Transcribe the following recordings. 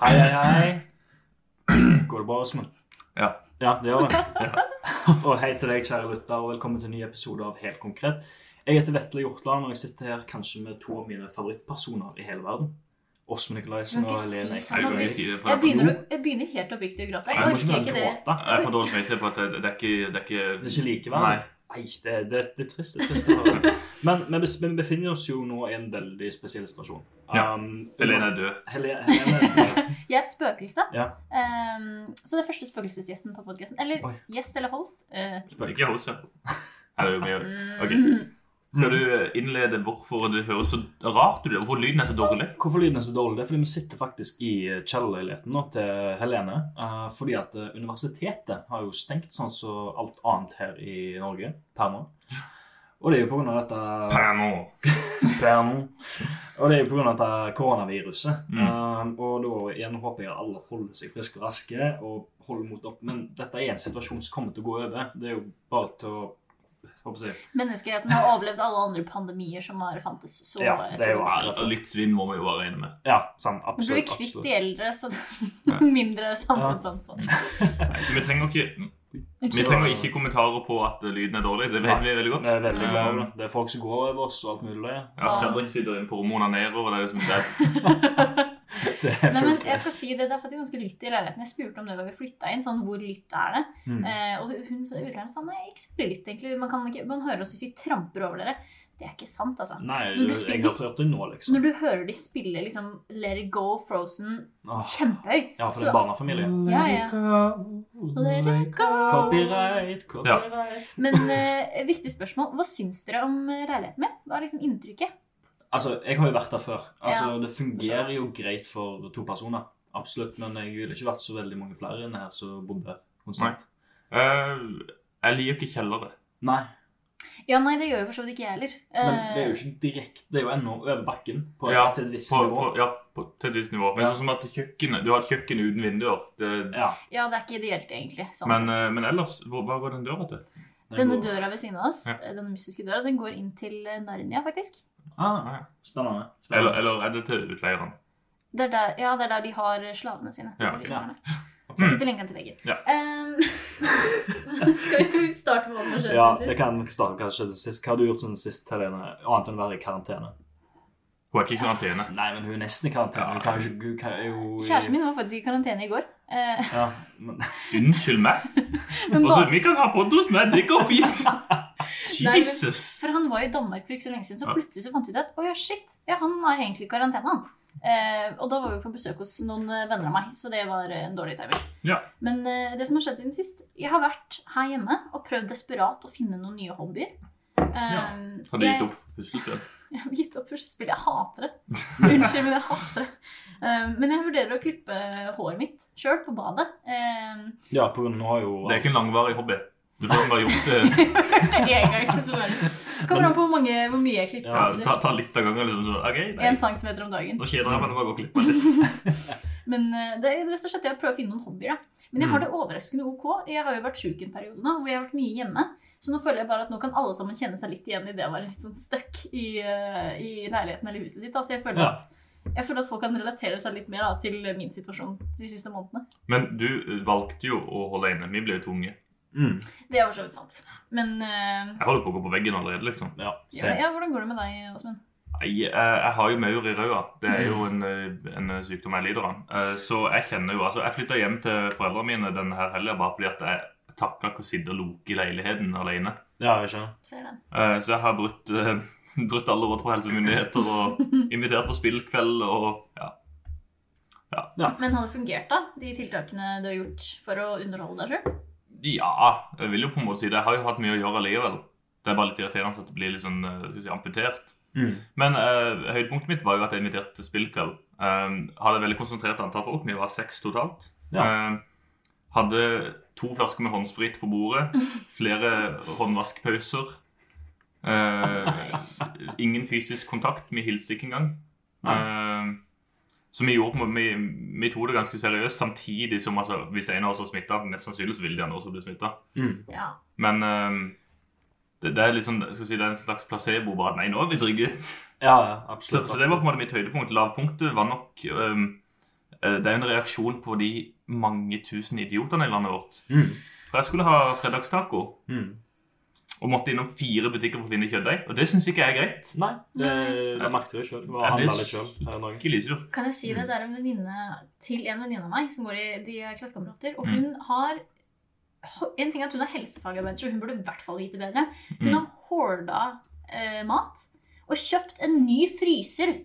Hei, hei, hei. Går det bra, Åsmund? Ja. Ja, det gjør det. og hei til deg, kjære lytter, og velkommen til en ny episode av Helt konkret. Jeg heter Vetle Hjortland, og jeg sitter her kanskje med to av mine favorittpersoner i hele verden. Åsmund Nikolaisen og Du kan ikke si Helene sånn. Nei, Eikholm. du kan ikke si det. For Jeg begynner, å- jeg begynner helt oppriktig å gråte. Jeg Nei, du må ikke orker ikke begynne det. å gråte. Jeg får dårlig samvittighet på at det, det er ikke Det er ikke, Det er ikke likevel. Nei. Nei, det, det, det er trist. Det er trist å høre. Men men vi vi befinner oss jo nå i en veldig spesiell situasjon. Ja. Um, Helene er død. Helene, Helene Jeg er et spøkelse. Ja. Ehm, så det er første spøkelsesgjesten på podkasten. Eller Oi. gjest eller host. eh, Spøk. Ikke hos deg. Her er jo mye. mm, Ok. Skal du innlede hvorfor det høres så rart ut? Hvorfor lyden er så dårlig? Hvorfor lyden er så dårlig? Det er fordi vi sitter faktisk i kjellerleiligheten nå til Helene. eh, Fordi at eh, universitetet har jo stengt sånn som alt annet her i Norge per nå. Og det er jo på grunn av dette Pano. per nå. Og det er jo på grunn av dette koronaviruset. Mm. Eh, Og da igjen håper jeg alle holder seg friske og raske og holder mot opp. Men dette er en situasjon som kommer til å gå over. Det er jo bare til å Håper jeg. Menneskeheten har overlevd alle andre pandemier som har fantes. Så Ja, det er jo Ja, altså, litt svinn må vi jo bare regne med. Ja, sant. Nå blir vi Absolutt. kvitt absolutt. de eldre, så Ja. mindre samfunnsansvar. Nei, så vi trenger ikke, vi Unnskyld. trenger ikke kommentarer på at lyden er dårlig. Det vet vi veldig godt. Det er veldig glad over Um, det. Det er folk som går over oss og alt mulig. Ja, Fredrik sitter inne på hormonene nedover, og det er liksom det. er- Det er Nei, men fullt jeg skal press. si Det det er faktisk ganske lytt i leiligheten. Jeg spurte om det da vi flytta inn. sånn, Hvor lytt er det? Mm. Eh, og hun sa- utleieren sa nei, ikke så veldig lytt, egentlig. Man, kan ikke, man hører oss hvis vi tramper over dere. Det er ikke sant, altså. Nei, Men du jeg spiller- jeg har hørt det nå, Så liksom. når du hører de spille liksom Let It Go, Frozen Åh, Ah. kjempehøyt ja, for det så- er barnefamilie. Ja, ja. Let it go. Copyright, copyright. Men eh, et viktig spørsmål. Hva syns dere om eh, leiligheten min? Hva er liksom inntrykket? Altså, jeg har jo vært der før. Altså, Ja. Det fungerer jo greit for to personer. Absolutt. Men jeg ville ikke vært så veldig mange flere enn her som bodde her konstant. Eh, jeg liker ikke kjellere. Nei. Ja, nei, det gjør jo for så vidt ikke jeg heller. Men Eh, det er jo ikke direkte. Det er jo ennå over bakken på Ja, til et visst På, nivå. på, ja, på, til et visst nivå. Men Ja. sånn som at kjøkkenet, du har et kjøkken uten vinduer. Det, Ja, Ja, det er ikke ideelt, egentlig. Sånn men, sett. eh, men ellers, hvor, hva går den døra til? eh, det Denne går- døra ved siden av oss, Ja. eh, denne mystiske døra, den går inn til eh, Narnia, faktisk. Ah, Ah, ja. spennende. Eller, spennende. eller er det til utleieren? Det er der, ja, det er der de har eh, slavene sine. Det Ja, er de ok. som er der. Ok. De sitter lenka til veggen. Ja. Ehm, skal vi starte med hva som har skjedd Ja, siden det sist? kan starte kanskje til sist. Hva har du gjort siden sist, Helene? Annet enn å være i karantene? Hun er ikke i karantene. Nei, men hun er nesten i karantene. Hun kan jo ikke hun kan jo Kjæresten min var faktisk i karantene i går. eh, Ja, men Unnskyld meg. men Altså, ba- vi kan ha podd hos meg, det går fint. Nei, men- Jesus. for han var i Danmark for ikke så lenge siden, så Ja. plutselig så fant vi ut at å ja, shit, ja, han er egentlig i karantene, han. Eh, og da var vi på besøk hos noen eh, venner av meg, så det var eh, en dårlig timing. Ja. Men eh, det som har skjedd siden sist Jeg har vært her hjemme og prøvd desperat å finne noen nye hobbyer. Eh, Hadde jeg- gitt opp puslespill. Jeg har gitt opp puslespill. Jeg hater det. Unnskyld, men jeg hater det. Um, men jeg vurderer å klippe håret mitt sjøl på badet. Um, ja, på grunn av nå har jo Det er ikke en langvarig hobby. Du får bare gjort det. en gang, selvfølgelig. Kommer an på hvor, mange, hvor mye jeg klipper. Ja, ta, ta litt av gangen. Liksom, så, ok, nei. En centimeter om dagen. Nå kjeder jeg meg, nå bare gå og klippe meg litt. Men uh, det er rett og slett det å prøve å finne noen hobbyer. Da. Men jeg Mm. har det overraskende ok. Jeg har jo vært sjuk en periode nå, hvor jeg har vært mye hjemme. Så nå føler jeg bare at nå kan alle sammen kjenne seg litt igjen i det å være litt sånn stuck i, uh, i leiligheten eller huset sitt. Da. Så jeg føler, Ja. at, jeg føler at folk kan relatere seg litt mer da, til min situasjon de siste månedene. Men du valgte jo å holde inne. Vi ble jo tvunget. mm, Det er for så vidt sant. Men eh, Jeg holder på å gå på veggen allerede, liksom. Ja, ja, se. ja, hvordan går det med deg, Åsmund? Nei, Jeg, jeg har jo maur i røda. Det er jo en, eh, en sykdom jeg lider av. Eh, Så jeg kjenner jo Altså, jeg flytta hjem til foreldrene mine denne her helga bare fordi at jeg takla ikke å sitte og loke i leiligheten alene. Ja, jeg skjønner. Ser den. Eh, Så jeg har brutt, eh, brutt alle råd fra helsemyndigheter og invitert på spillkveld og ja. Men har det fungert, da? De tiltakene du har gjort for å underholde deg sjøl? ja, jeg vil jo på en måte si det. Jeg har jo hatt mye å gjøre allikevel. Det er bare litt irriterende at det blir litt sånn eh, skal vi si, amputert. Mm. Men eh, høydepunktet mitt var jo at jeg inviterte til spillkveld. Eh, hadde et veldig konsentrert antall folk. Vi var seks totalt. Eh, hadde to flasker med håndsprit på bordet. Flere håndvaskpauser. Eh, Nice. Ingen fysisk kontakt. Vi hilste ikke engang. Nei. Eh, så vi, gjorde, på en måte- vi, vi tok det ganske seriøst, samtidig som altså, hvis en av oss var smitta, mest sannsynlig så vil de andre også bli smitta. Mm. Ja. Men eh, det, det er liksom, jeg skal si, det er en slags placebo. bare at Nei, nå er vi trygge. Ja, ja, Så, absolutt. så det var på en måte mitt høydepunkt. Lavpunktet var nok um, eh, det er en reaksjon på de mange tusen idiotene i landet vårt. Mm. For jeg skulle ha fredagstaco Mm. og måtte innom fire butikker for å finne kjøttdeig, og det syns ikke jeg er greit. Nei, det, jeg merket det sjøl. Ja, det er Handla litt sjøl her om dagen. Ikke litt sur. Kan jeg si det? Det er en venninne til en venninne av meg som går i de er klassekamerater. Og hun har En ting er at hun er helsefagarbeider, så hun burde i hvert fall vite bedre. Hun Mm. har horda eh, mat. Og kjøpt en ny fryser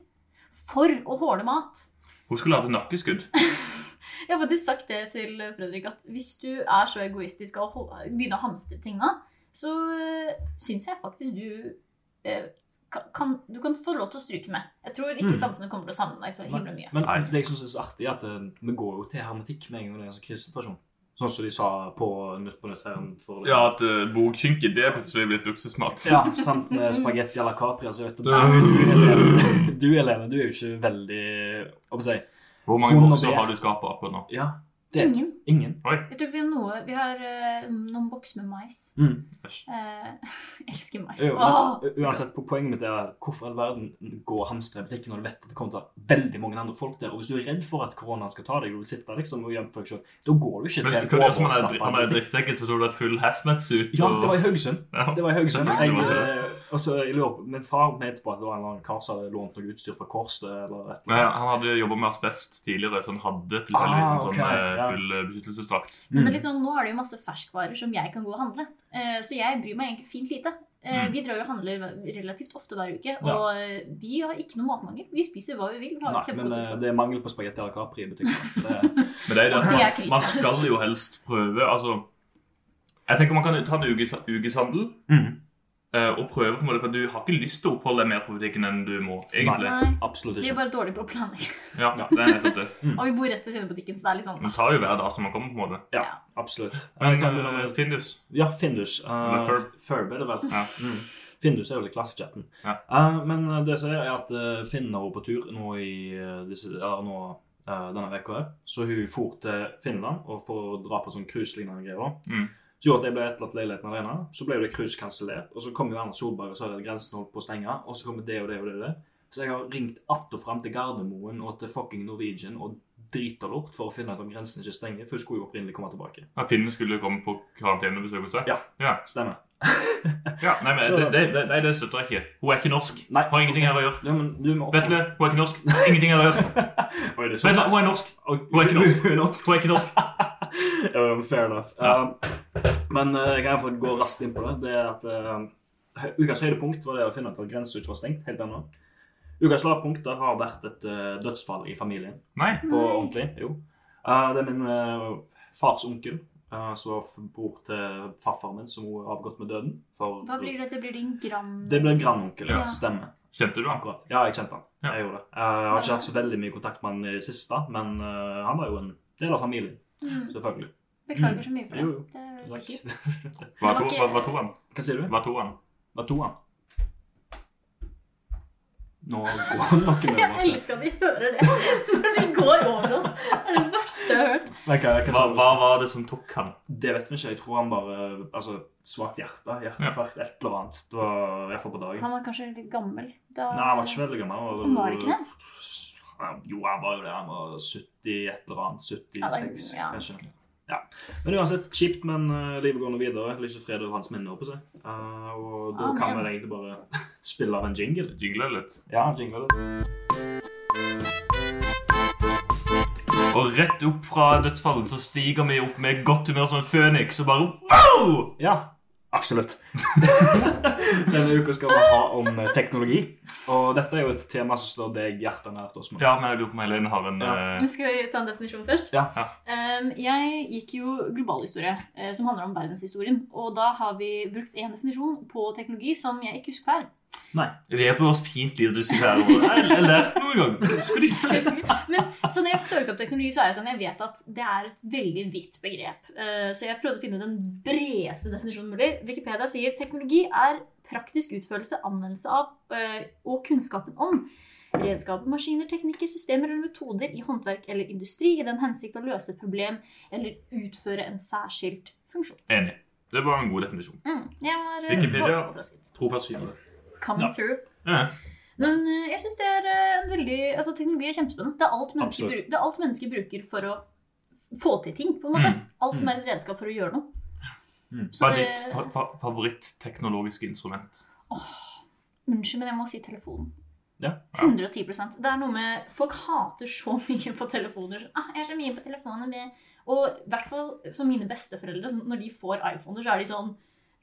for å håle mat. Hun skulle hatt nakkeskudd. Jeg har faktisk sagt det til Fredrik at hvis du er så egoistisk og hol- begynner å hamstre ting nå, så eh, syns jeg faktisk du eh, ka- kan, Du kan få lov til å stryke med. Jeg tror ikke Mm. samfunnet kommer til å savne deg så himla mye. Men Nei. det jeg synes er så artig, er at eh, vi går jo til hermetikk med en gang det er en sånn krisesituasjon. Sånn som de sa på Nytt på Nytt her for Ja, at uh, bogskinke det er plutselig blitt luksusmat. Ja, sant, med spagetti à la capri. Altså, vet du, Ja. du, Helene, du, Helene, du er jo ikke veldig Hva skal jeg si? Hvor mange Bonde bokser B. har du i skapet akkurat nå? Ja, det er Ingen. ingen. Jeg tror ikke vi har noe Vi har eh, noen boks med mais. Mm. Eh, elsker mais. Jo, Åh, men, eh, uansett, på poenget mitt er hvorfor i all verden gå og hamstre i butikken når du vet at det kommer til å være veldig mange andre folk der. Og hvis du er redd for at koronaen skal ta deg, og du sitter liksom og gjemmer for deg selv, da går du ikke til Men hva en er det som han er, overstappa han er butikk. drittsekken til å tro det er full hazmat-suit? Ja, det var i Haugesund. Det var i Haugesund. Jeg, Selvfølgelig var det eh, og så jeg lurer på, Min far mente på at det var en eller annen kar som hadde lånt noe utstyr fra Kårstø eller et Ja, eller annet. han hadde jobba med asbest tidligere, så han hadde Ah, tilfeldigvis en ok, sånn eh, ja. full eh, beskyttelsesdrakt. Men Mm. det er litt sånn, nå har de jo masse ferskvarer som jeg kan gå og handle. Eh, så jeg bryr meg egentlig fint lite. Eh, Mm. Vi drar jo og handler relativt ofte hver uke. Ja. Og eh, vi har ikke noe matmangel. Vi spiser hva vi vil. Vi har Nei, et men kjempegodt eh, utvalg. det er mangel på spagetti eller capri i butikken. Det, Men det er jo det. Det er Man, krise. man skal jo helst prøve altså, Jeg tenker man kan ta en ukes, ukeshandel Mm. eh, og prøve, på en måte, for du har ikke lyst til å oppholde deg mer på butikken enn du må, egentlig. Nei, absolutt vi er ikke. bare dårlige på å planlegge. Ja, det er nettopp det. Og vi bor rett ved siden av butikken, så det er litt sånn Man tar jo hver dag som man kommer, på en måte. Ja, absolutt. Men Kan du eh, noe- Findus Ja, Findus. Eh, Eller Ferb. Ferb er det vel. Ja. Mm. Findus er jo litt klassechatten. Ja. Eh, men eh, det som er, er at eh, Finn har vært på tur nå i eh, disse, ja, nå, eh, denne veka her. Så hun for til Finland og for å dra på sånn cruiselignende greier. da. Mm. Så gjorde at jeg ble etterlatt leiligheten alene. Så ble jo det cruise kansellert. Og så kom jo Erna Solberg og sa at grensen holdt på å stenge. Og så kommer det og det og det. Og det. Så jeg har ringt att og fram til Gardermoen og til fucking Norwegian og drita lort for å finne ut om grensen ikke stenger, for hun skulle jo opprinnelig komme tilbake. ja, Finnus skulle komme på karantenebesøk hos deg? Ja. Stemmer. Ja, nei, men Så- det, det, det, nei, det støtter jeg ikke. Hun er ikke norsk. Nei. Hun har ingenting her å gjøre. Ja, men du må Vetle, hun er ikke norsk. Ingenting her å gjøre. Oi, det er Vetle, såpass. hun er norsk. Og- Hun er ikke norsk. Hun er norsk. Hun er ikke norsk. Ja, ja, fair enough. Ja. Um, men eh, jeg kan iallfall gå raskt inn på det. Det er at eh, hø- Ukas høydepunkt var det å finne ut at grensa ikke var stengt helt ennå. Ukas lavpunkt det har vært et eh, dødsfall i familien. Nei. På ordentlig, jo. Eh, det er min eh, fars onkel, eh, som var f- bror til farfar min, som hun har avgått med døden. For, Hva blir det? Det blir din gran... det blir grandonkel, ja. Ja. Stemmer. Kjente du han? Akkurat. Ja, jeg kjente han. Ja. Jeg gjorde det. Eh, jeg har ikke hatt så veldig mye kontakt med han i det siste, men eh, han var jo en del av familien, Mm. selvfølgelig. Beklager så mye for det. Jo, jo. Det er veldig kjipt. Takk. Hva Det var to, ikke- hva, hva to han? Hva sier du? Hva to han? Hva to han? Nå går noen Jeg over seg. elsker at de hører det når de går over oss. Det er det verste jeg har hørt. Nei, hva, hva Hva, sa du? hva var det som tok han? Det vet vi ikke. Jeg tror han bare Altså, svakt hjerte. Hjerteinfarkt, et eller annet. Det var iallfall på dagen. Han var kanskje litt gammel. Da... Nei, han var ikke veldig gammel. Han var ikke det? Han- Jo, han var jo det. Han var 70 et eller annet. Ja, det- 76, ja. kanskje. Ja. Men uansett, kjipt, men eh, livet går nå videre. Lys og fred over hans minne, holdt på å si. Eh, og da kan Amen. vi egentlig bare spille av en jingle. Jingla litt. Ja, jingle. Og rett opp fra dødsfallen så stiger vi opp med godt humør som en føniks og bare wow! Ja, absolutt. Denne uka skal vi ha om eh, teknologi. Og dette er jo et tema som står deg hjertet nært oss med. Ja, men jeg lurer på om Helene har en Ja. eh, Skal vi ta en definisjon først? Ja. Ja. Ehm, jeg gikk jo globalhistorie, eh, som handler om verdenshistorien. Og da har vi brukt én definisjon på teknologi som jeg ikke husker hver. Vi er på oss fint liv du sitter her og Jeg jeg lærte noe en gang. Skulle ikke. Liksom. Men så når jeg søkte opp teknologi, så er jeg sånn, jeg vet at det er et veldig vidt begrep. Eh, Så jeg prøvde å finne den bredeste definisjonen mulig. Wikipedia sier teknologi er praktisk utførelse, anvendelse av eh, og kunnskapen om redskaper, maskiner, teknikker, systemer eller metoder i håndverk eller industri i den hensikt å løse et problem eller utføre en særskilt funksjon. Enig. Det var en god definisjon. Mm. Jeg var eh, Wikipedia. overrasket. Trofast fiende. Coming Ja. through. Ja. Men eh, jeg syns det er eh, en veldig Altså, teknologi er kjempespennende. Det er alt mennesker, Absolutt. bru- det er alt mennesker bruker for å få til ting, på en måte. Mm. Alt som er et redskap for å gjøre noe. Mm. Hva Så er det ditt fa fa favoritt-teknologiske instrument? Unnskyld, men jeg må si telefonen. Ja. 110 Det er noe med Folk hater så mye på telefoner. Så, Ah, jeg er så mye på telefonen. det». Og i hvert fall som mine besteforeldre, sånn, når de får iPhoner, så er de sånn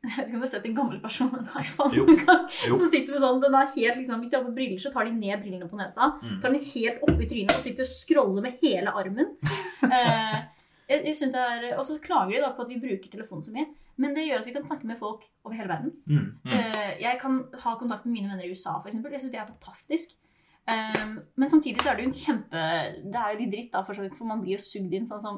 Jeg vet ikke om du har sett en gammel person med en iPhone Jo. noen gang? Jo. Så sitter vi sånn, den er helt liksom, Hvis de har på briller, så tar de ned brillene på nesa. Mm. Tar den helt opp i trynet og sitter og scroller med hele armen. Eh, jeg, jeg synes det er, Og så klager de da på at vi bruker telefonen så mye. Men det gjør at vi kan snakke med folk over hele verden. Mm. Mm. Eh, jeg kan ha kontakt med mine venner i USA, f.eks. Jeg syns det er fantastisk. Um, men samtidig så er det jo en kjempe Det er jo litt dritt, da, for, så vidt, for man blir jo sugd inn, sånn som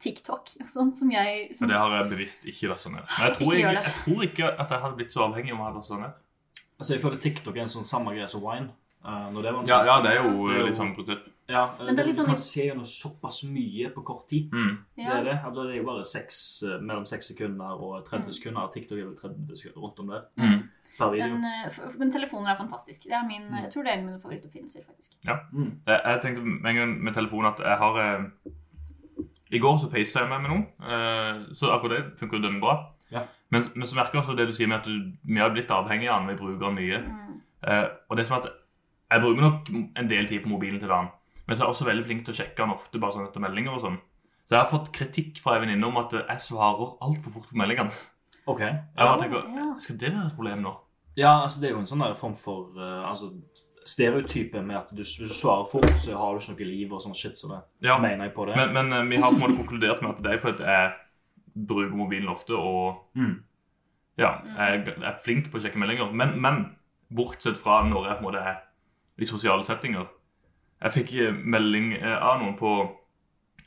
TikTok. og Sånn, som jeg, som, Men det har jeg bevisst ikke lasta ned. Men jeg tror, Ikke gjør jeg, det. jeg tror ikke at jeg hadde blitt så avhengig om jeg hadde sånn lasta ned. Altså, jeg føler TikTok er en sånn samme greie som wine. eh, når det var en Ja, ting. ja, det er jo eh, Det er jo- litt samme prinsipp. Ja, eh, Men det er litt sånn- Du kan se gjennom såpass mye på kort tid. Mm. Det ja. er det. Altså, det er jo bare seks, eh, mellom 6 sekunder og 30 Mm. sekunder. TikTok er vel 30 sekunder rundt om der Mm. per video. Men, eh, f- men telefoner er fantastisk. Det er min, Mm. Jeg tror det er en av mine favorittoppfinnelser, faktisk. Mm. Jeg, jeg tenkte med en gang med telefonen at jeg har eh, I går så facetimet jeg med noen, eh, så akkurat det funker jo dømmebra. Ja. Men, men så merker jeg også det du sier med at du, vi har blitt avhengig av den, vi bruker den mye. Mm. Eh, og det som er at Jeg bruker nok en del tid på mobilen til dagen, men så er jeg også veldig flink til å sjekke den ofte bare sånn etter meldinger og sånn. Så jeg har fått kritikk fra ei venninne om at eh, jeg svarer altfor fort på meldingene. Ok. Jeg bare Ja, tenker, ja. Skal det være et problem nå? Ja, altså, det er jo en sånn der form for eh, altså, stereotype med at du, hvis du svarer fort, så har du ikke noe liv og sånn shit som det. Ja, Mener jeg på det. Men, men eh, vi har på en måte konkludert med at det er fordi at jeg bruker mobilen ofte, og Mm. ja, jeg jeg er flink på å sjekke meldinger. Men, men bortsett fra når jeg på en måte er i sosiale settinger Jeg fikk eh, melding eh, av noen på,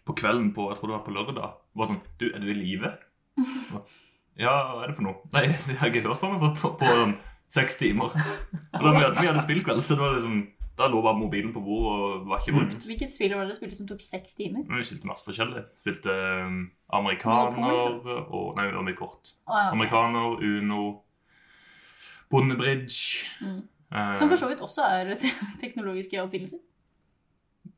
på kvelden på Jeg tror det var på lørdag. Bare sånn Du, er du i live? Jeg bare, Ja, hva er det for noe? Nei, de har ikke hørt på meg på, på, på sånn seks timer. Og da, vi, hadde, vi hadde spillkveld, så det var liksom, da lå bare mobilen på bordet og var ikke Mm. brukt. Hvilket spill var det dere spilte som tok seks timer? Men vi spilte masse forskjellig. Spilte um, amerikaner og Nei, det var mye kort. Å, ja, ok. Amerikaner, Uno, Bondebridge Mm. eh, Som for så vidt også er te- teknologiske oppfinnelser.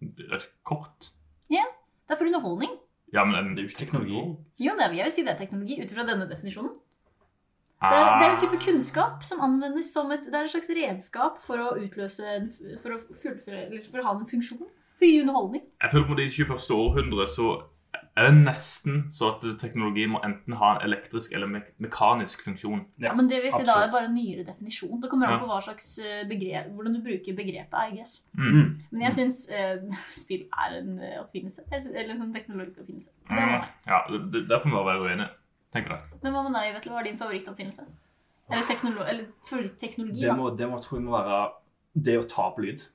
et Kort. Det er for underholdning. Ja, men en, Det er jo ikke teknologi. Jo, det er, jeg vil si det er teknologi ut fra denne definisjonen. Ah. Det er, det er en type kunnskap som anvendes som et, det er et slags redskap for å utløse en, f- for, å fullføre, eller for å ha en funksjon. For å gi underholdning. Jeg føler på det i det 21. århundre så er det nesten så at teknologi må enten ha en elektrisk eller me mekanisk funksjon. Ja, Men det vil si da absolutt. er bare en nyere definisjon. Det kommer an Ja. på hva slags eh, begrep, hvordan du bruker begrepet. I guess. Mm. Men jeg syns eh, spill er en eh, oppfinnelse. Jeg sy- Eller en sånn teknologisk oppfinnelse. Det var Mm. meg. Ja, det- det- Der får vi bare være uenige, tenker jeg. Men hva med deg, Vetle? Hva er din favorittoppfinnelse? Eller, teknolo eller favoritteknologi, Det da. må, det må, tror jeg må være det å ta opp lyd.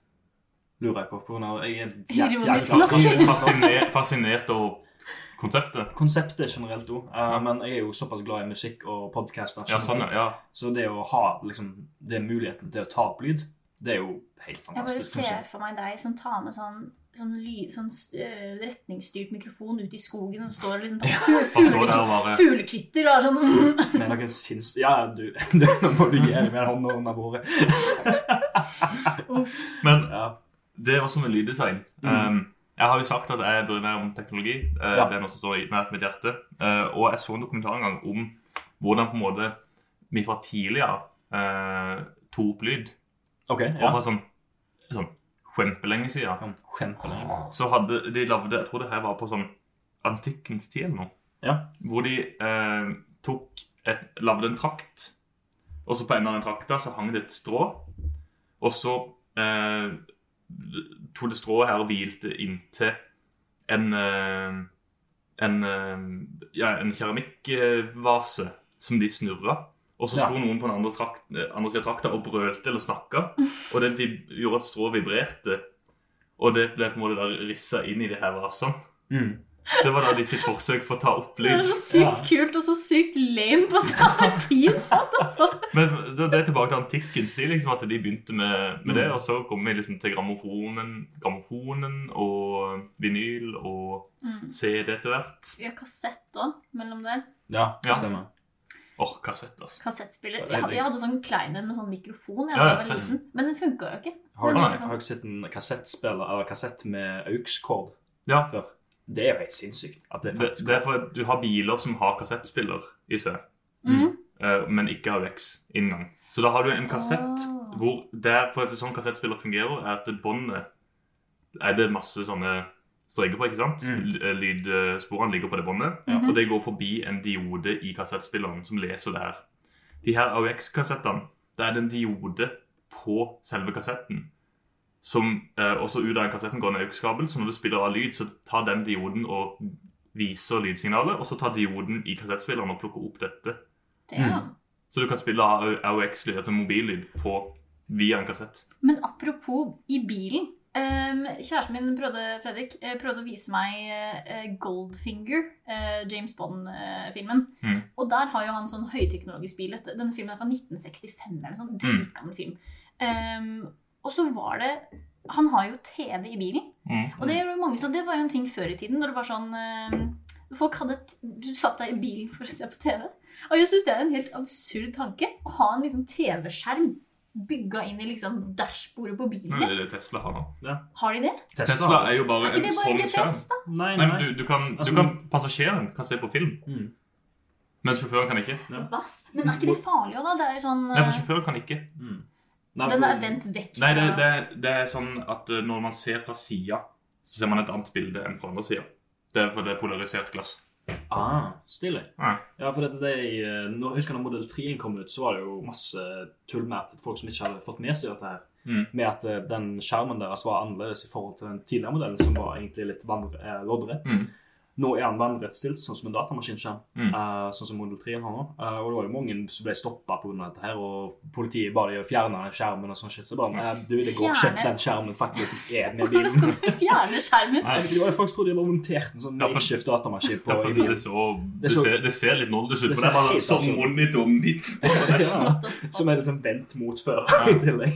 Lurer jeg på. på grunn av, jeg er jæ- jævlig Ironisk glad i Fas- lyd. Fasciner, fascinert over konseptet. Konseptet generelt òg, Ja. men jeg er jo såpass glad i musikk og podkaster. Ja, sånn, ja. ja. Så det å ha liksom, det muligheten til å ta opp lyd, det er jo helt Jeg bare fantastisk. synes ser jeg. for meg deg som tar med sånn, sånn, ly, sånn eh, retningsstyrt mikrofon ut i skogen og står og liksom tar fu- Bare stå der fuglekvitter- og bare fuglekvitter og er sånn mm. Med noen sinns... Ja, du, du nå må du gi deg med hånda under bordet. Men Ja. det var som en lyddesign. Mm. Um, jeg har jo sagt at jeg bryr meg om teknologi. Eh, Ja. Det er noe som står i- nært mitt hjerte. Eh, og jeg så en dokumentar en gang om hvordan på en måte vi fra tidligere uh, tok opp lyd. OK. Og Ja. fra sånn, sånn kjempelenge siden Kan skjempe deg. så hadde de lagde Jeg tror det her var på sånn antikkens tid eller noe. Ja. Hvor de eh, tok et, lagde en trakt, og så på enden av den trakta så hang det et strå. Og så eh, tok det strået her og hvilte inntil en eh, en, eh, ja, en keramikkvase som de snurra. Og så Ja. sto noen på den andre, trakt, eh, andre siden av trakta og brølte eller snakka. Og det vib gjorde at strået vibrerte. Og det ble på en måte da rissa inn i de her vasene. Mm. Det var da de sitt forsøk på å ta opp Det er lyd. så sykt kult og så sykt lame på samme tid. Men det det er tilbake til antikkens tid, liksom, at de begynte med, med Mm. det. Og så kom vi liksom til grammofonen, grammofonen og vinyl og Mm. CD etter hvert. Vi har kassett òg mellom der. Ja, Ja. det stemmer. Åh, kassett, altså. Kassettspiller. Det er Jeg hadde, digg. jeg hadde sånn klein en med sånn mikrofon jeg Ja, da ja, jeg var selv. liten, men den funka jo ikke. Har Den dere- Nei. har dere sett en kassettspiller eller kassett med AUX-kord Ja. før? Det er jo helt sinnssykt. At det Det, faktisk det er for at du har biler som har kassettspiller i seg, Mhm. eh, men ikke AUX-inngang. Så da har du en kassett Ah. hvor der for at sånn kassettspiller fungerer, er at båndet er det masse sånne streker på, ikke sant? Mm. L- eh, Lydsporene ligger på det båndet, Ja. og det går forbi en diode i kassettspilleren som leser det her. De her AUX-kassettene, det er det en diode på selve kassetten. Som eh, også ut av den kassetten går en AUX-kabel, så når du spiller av lyd, så tar den dioden og viser lydsignalet, og så tar dioden i kassettspilleren og plukker opp dette. Det er han. Så du kan spille AUX-lyd, altså mobillyd, på via en kassett. Men apropos i bilen. ehm, kjæresten min prøvde, Fredrik, eh, prøvde å vise meg eh, Goldfinger, eh, James Bond-filmen. Mm. Og der har jo han sånn høyteknologisk bil. Dette- Denne filmen er fra 1965 eller en sånn dritgammel film. Ehm, og så var det Han har jo TV i bilen. Og Mm. det, gjør jo mange, sånn- det var jo en ting før i tiden, når det var sånn ehm, Folk hadde et, Du satt deg i bilen for å se på TV. Og jeg syns det er en helt absurd tanke å ha en liksom TV-skjerm bygga inn i liksom dashbordet på bilen. Nei, det er det Tesla har nå. Har de det? Tesla er jo bare Er Mm. ikke en det bare sånn skjerm. GPS, da? Nei, Nei, nei. men du, du kan, du Altså, kan, passasjeren kan se på film, Mm. men sjåføren kan ikke. Ja. Vass. Men er ikke det farlig òg, da? Det er jo sånn Nei, for eh, sjåføren kan ikke. Mm. Nei, Den er for- vendt vekk Nei, det, det, det er sånn at eh, når man ser fra sida, så ser man et annet bilde enn på andre sida. Det er fordi det er polarisert glass. Ah, stilig. Ja. Ja, for dette, det er i, eh, nå, husker jeg når modell 3 kom ut, så var det jo masse tull med at folk som ikke hadde fått med seg dette her, Mm. med at eh, den skjermen deres var annerledes i forhold til den tidligere modellen, som var egentlig litt vandre, eh, loddrett. Mm. Nå er den vannrettstilt, sånn som en datamaskinskjerm, Mm. eh, sånn som modell 3 har nå. Eh, og det var jo mange som ble stoppet på grunn av dette her, og politiet ba de å fjerne skjermen og sånn shit, så bare, eh, du, det går ikke, Fjerne? den skjermen faktisk er med Hvordan skal bilen. du fjerne skjermen? Nei, Ja, Det var jo faktisk trodde de hadde montert en sånn Ja, for- makeshift datamaskin på ja, i for bilen. det, så, Det det, så- ser, det ser litt nådeløst ut, Det for det ser er bare helt sånn absurd ut. monitor midt på det. Ja, What the fuck? som er liksom vendt mot før Ja. i tillegg.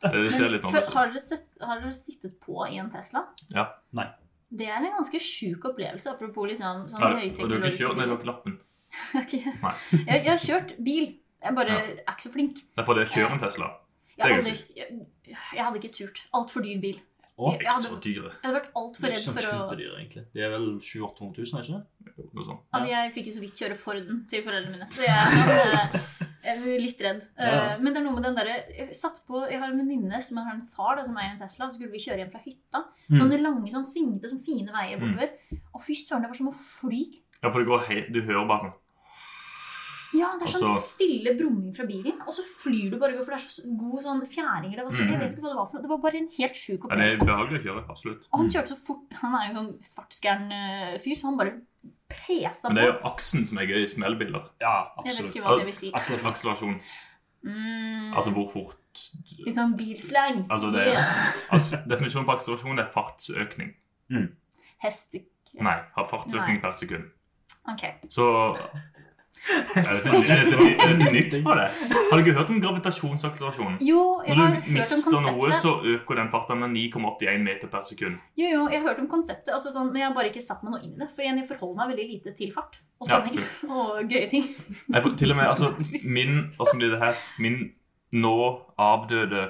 Det ser litt Men, for, nådeløst ut. har, dere sett, har dere sittet på i en Tesla? Ja. Nei. Det er en ganske sjuk opplevelse, apropos liksom, sånn Nei, Og du har ikke høyteknologisk kjørt, nei, du bil. har ikke lappen. Jeg, Nei. jeg har kjørt bil. Jeg bare Ja. er ikke så flink. Det er fordi jeg kjører en Tesla. Jeg Det er hadde, jeg, jeg hadde ikke turt. Altfor dyr bil. Å, Jeg Ikke hadde- så dyre. Jeg hadde vært Det altfor er redd ikke sånn for å kjempedyr, egentlig. De er vel 700 000-800 000, er ikke det? Noe sånt. Altså, jeg fikk jo så vidt kjøre Forden til foreldrene mine, så jeg er, sånn, eh, jeg er litt redd. Ja. Eh, Men det er noe med den derre Jeg satt på, jeg har en venninne som har en far da, som eier en Tesla, og så skulle vi kjøre hjem fra hytta. Sånne lange, sånn svingete, sånn fine veier Mm. bortover. Og fy søren, det var som å fly. Ja, for det går helt, du hører bare sånn Ja, det er sånn Og så- stille brumming fra bilen, og så flyr du bare, for det er så god sånn fjæringer. Det var så, jeg Mm. vet ikke hva det var for noe. Det var bare en helt sjuk Ja, det er opplevelse. behagelig å kjøre, absolutt. Og han kjørte så fort. Han er jo en sånn fartsgæren eh, fyr, så han bare pesa Men på. det er jo aksen som er gøy i smellbiler. Ja, Jeg vet ikke absolutt. hva det vil si. Akselerasjon. Akselerasjon. Mm, Altså hvor fort litt sånn bilslang. Altså det er akse- Definisjonen på akselerasjon er fartsøkning. Hestek... Nei, har fartsøkning per sekund. Ok. Så er dette, er dette, er dette nytt fra det? Har du ikke hørt om gravitasjonsakselerasjon? Jo, jeg har Når du hørt om mister noe, konseptet. så øker den farten med 9,81 meter per sekund. Jo, jo, jeg har hørt om konseptet, altså sånn, men jeg har bare ikke satt meg noe inn i det. For igjen, jeg forholder meg veldig lite til fart og Ja, spenning og gøye ting. Nei, for- til og med altså, min, altså, det er det her, min nå avdøde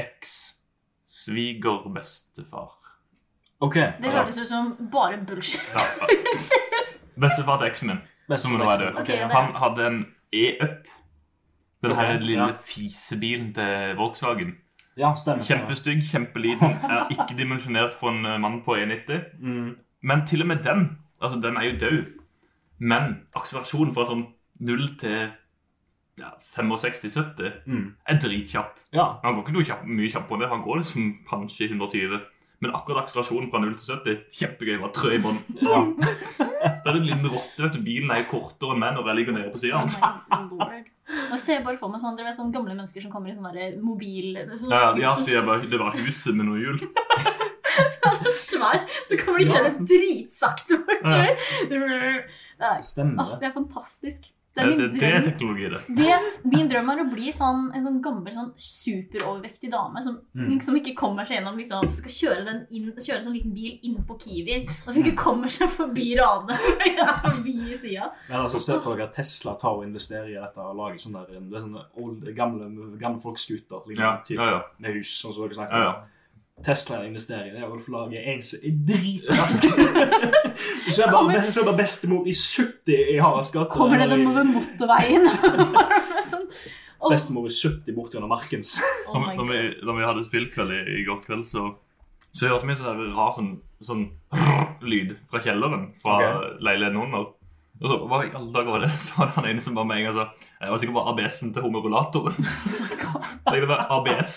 eks-svigerbestefar OK. Det Ja. hørtes ut som bare bullshit. ja, Bestefar til eksen min, som nå er død. Ok, det- Han hadde en e-up. Den her Ok, lille ja. fisebilen til Volkswagen. Ja, stemmer. Kjempestygg, kjempeliten. Er ikke dimensjonert for en eh, mann på 1,90. Mm. Men til og med den Altså, den er jo død. Men akselerasjonen fra sånn 0 til ja, 65-70 Mm. er dritkjapp. Ja. Han går ikke noe kjapp, mye kjappere enn det. Han går liksom kanskje 120. Men akkurat akselerasjonen fra 0 til 70 kjempegøy. Bare trø i bånn. ja. Det er en liten rotte. vet du, Bilen er jo kortere enn meg når jeg ligger nede på sida Oh hans. my lord. Nå ser jeg bare for meg sånn, dere vet, sånn gamle mennesker som kommer i sånn der mobil... Sånn, Ja, ja, sånn- det er bare, det er bare huset med noen hjul. sånn svær, så kommer de kjøre dritsakte bortover. Ja. Stemmer Ah, det. det er fantastisk. Det er min det, det er drøm. teknologi, det. Det, min drøm er å bli sånn, en sånn gammel, sånn superovervektig dame som Mm. som ikke kommer seg gjennom liksom, Skal kjøre den inn, kjøre sånn liten bil inn på Kiwi, og Mm. som ikke kommer seg forbi radene. fordi det er forbi sida. Men altså, Se for dere at Tesla tar og investerer i dette og lager sånne, der, det er sånne old, gamle, gamle folks-skuter Ja, liksom, ja, typ, ja. med hus. sånn som dere snakker ja, om. ja. Tesla investerer i det, og du får lage en som er dritrask. så er bare, så er bare bestemor i 70 i Haralds gate. Kommer den eller over motorveien? sånn. Åh, Bestemor i 70 borti under Markens. oh Da my vi- da, vi, God. da vi hadde spillkveld i, i går kveld, så, så hørte vi en sånn der rar sånn, sånn lyd fra kjelleren fra leiligheten under. Og så, Hva i alle dager var det? Så var det han ene som bare med en gang sa Det var sikkert bare ABS-en til Oh homorulatoren. Det er bare ABS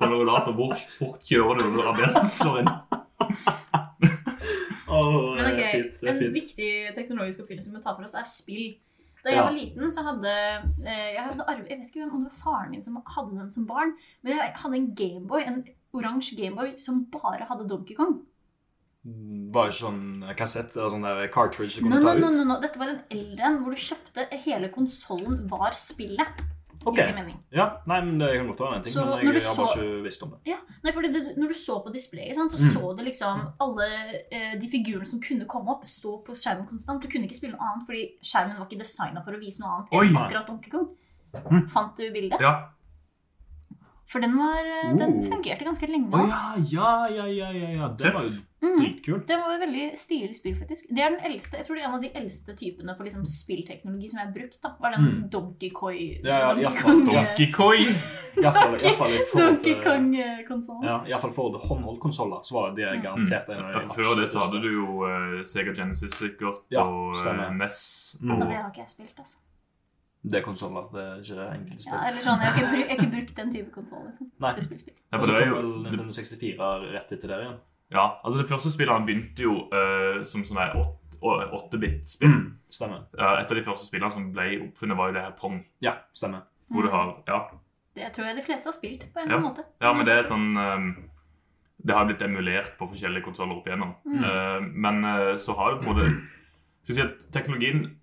på en rullator. Hvor fort kjører du når ABS-en slår inn? Åh, Men det er ok, fint, det er En fint. viktig teknologisk oppfinnelse vi må ta for oss, er spill. Da jeg Ja. var liten, så hadde eh, jeg hadde arve, Jeg vet ikke hvem om det var faren min som hadde den som barn, men jeg hadde en Gameboy, en oransje Gameboy som bare hadde Donkey Kong. Bare sånn kassett eller sånn der cartridge du kunne No, no, ta no, ut? no, no. Dette var en eldre en hvor du kjøpte hele konsollen var spillet. Ok, Hvis det er mening. ja, nei, men Det kan godt være en ting, Så men når du jeg har så- bare ikke visst om det. Ja, nei, fordi det, Når du så på displayet, sant, så Mm. så du liksom alle eh, de figurene som kunne komme opp, stå på skjermen konstant. Du kunne ikke spille noe annet, fordi skjermen var ikke designa for å vise noe annet enn Oi. akkurat Donkey Kong. Mm. Fant du bildet? Ja. For den, var, eh, den Oh. fungerte ganske lenge. Å nå. ja, ja, ja, ja, ja, ja. Det var jo Mm. dritkult. Det var et veldig stilig spill, faktisk. Det er den eldste, jeg tror det er en av de eldste typene for liksom, spillteknologi som jeg har brukt. da, var den Mm. Donkey Kong Ja, ja, i hvert fall Donkey Donkey Kong! Iallfall i forhold Donkey til Kong-konsollen. eh, ja, i hvert fall for det håndholdkonsoller, så var Mm. det garantert en av de Mm. Ja, Før det så hadde absolutt du jo eh, Sega Genesis sikkert, Ja, og stemmer. uh, NES Mm. Ja, og det har ikke jeg spilt, altså. Det er konsoller, det er ikke enkelte Ja, spill. eller sånn, Jeg har ikke, bru- jeg har ikke brukt den type konsoll. Liksom. Nei. Til spill, spill. Ja, Og for så det er kom jo, vel det, Nintendo 64 rett etter der igjen. Ja, altså det første spillet han begynte jo eh, som sånn der åt- å- Mm. 8-bit-spill. Stemmer. Eh, et av de første spillene som ble oppfunnet, var jo det her Pong. Ja, stemmer. Hvor du Mm. har, ja. Det tror jeg de fleste har spilt på en eller annen måte. ja, men det er sånn eh, Det har blitt emulert på forskjellige konsoller opp igjennom. Mm. Eh, men eh, så har det på en måte Skal jeg si at teknologien